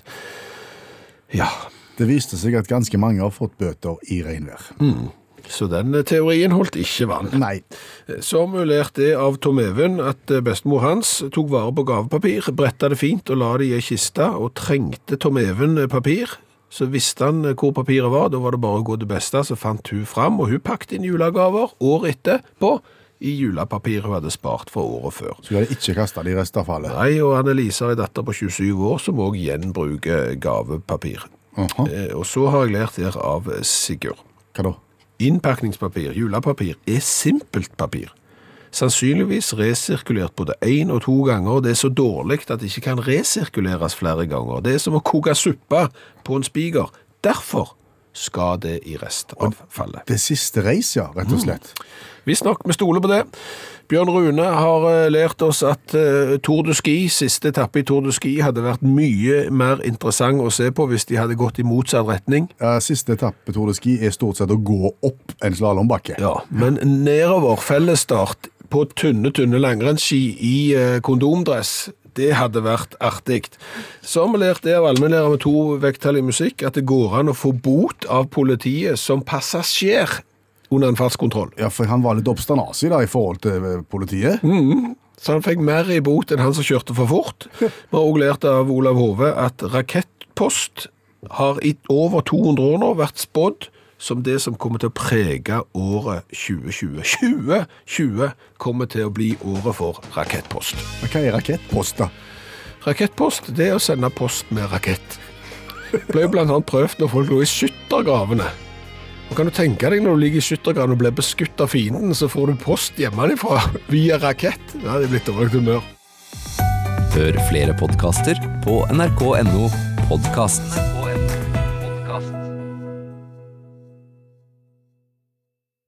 Speaker 3: Ja,
Speaker 2: Det viste seg at ganske mange har fått bøter i regnvær.
Speaker 3: Mm. så den teorien holdt ikke vann.
Speaker 2: Nei.
Speaker 3: Så har vi lært det av Tom Even at eh, bestemor hans tok vare på gavepapir, bretta det fint og la det i ei kiste, og trengte Tom Even eh, papir. Så visste han eh, hvor papiret var, da var det bare å gå til beste, så fant hun fram, og hun pakket inn julegaver året etterpå i julepapiret hun hadde spart fra året før.
Speaker 2: Så vi hadde ikke kasta det i restavfallet.
Speaker 3: Nei, og Annelise har en datter på 27 år som òg gjenbruker gavepapir.
Speaker 2: Aha.
Speaker 3: Eh, Og så har jeg lært her av Sigurd.
Speaker 2: Hva da?
Speaker 3: Innpakningspapir, julepapir, er simpelt papir. Sannsynligvis resirkulert både én og to ganger, og det er så dårlig at det ikke kan resirkuleres flere ganger. Det er som å koke suppe på en spiker. Derfor skal det i restavfallet.
Speaker 2: Det siste reis, ja, rett
Speaker 3: Mm.
Speaker 2: og slett.
Speaker 3: Visstnok, vi stoler på det. Bjørn Rune har eh, lært oss at eh, Tour de Ski, siste etappe i Tour de Ski, hadde vært mye mer interessant å se på hvis de hadde gått i motsatt retning.
Speaker 2: Eh, Siste etappe Tour de Ski er stort sett å gå opp en slalåmbakke.
Speaker 3: Ja, men nedover fellesstart på tynne, tynne langrennsski i eh, kondomdress, det hadde vært artig. Så har vi lært det av allmennlærer med to vekttall i musikk, at det går an å få bot av politiet som passasjer under en fartskontroll.
Speaker 2: Ja, for han var litt oppstandasig da, i forhold til eh, politiet.
Speaker 3: Mm. Så han fikk mer i bot enn han som kjørte for fort. Vi har også lært av Olav Hove at rakettpost har i over 200 år nå vært spådd som det som kommer til å prege året 2020. 2020 kommer til å bli året for rakettpost.
Speaker 2: Hva er rakettpost, da?
Speaker 3: Rakettpost, det er å sende post med rakett. Det ble jo blant annet prøvd når folk lå i skyttergravene. Og kan du tenke deg når du ligger i skyttergraven og blir beskutt av fienden, så får du post hjemmefra via rakett. Da er det blitt dårlig humør.
Speaker 7: Hør flere podkaster på nrk.no podkast.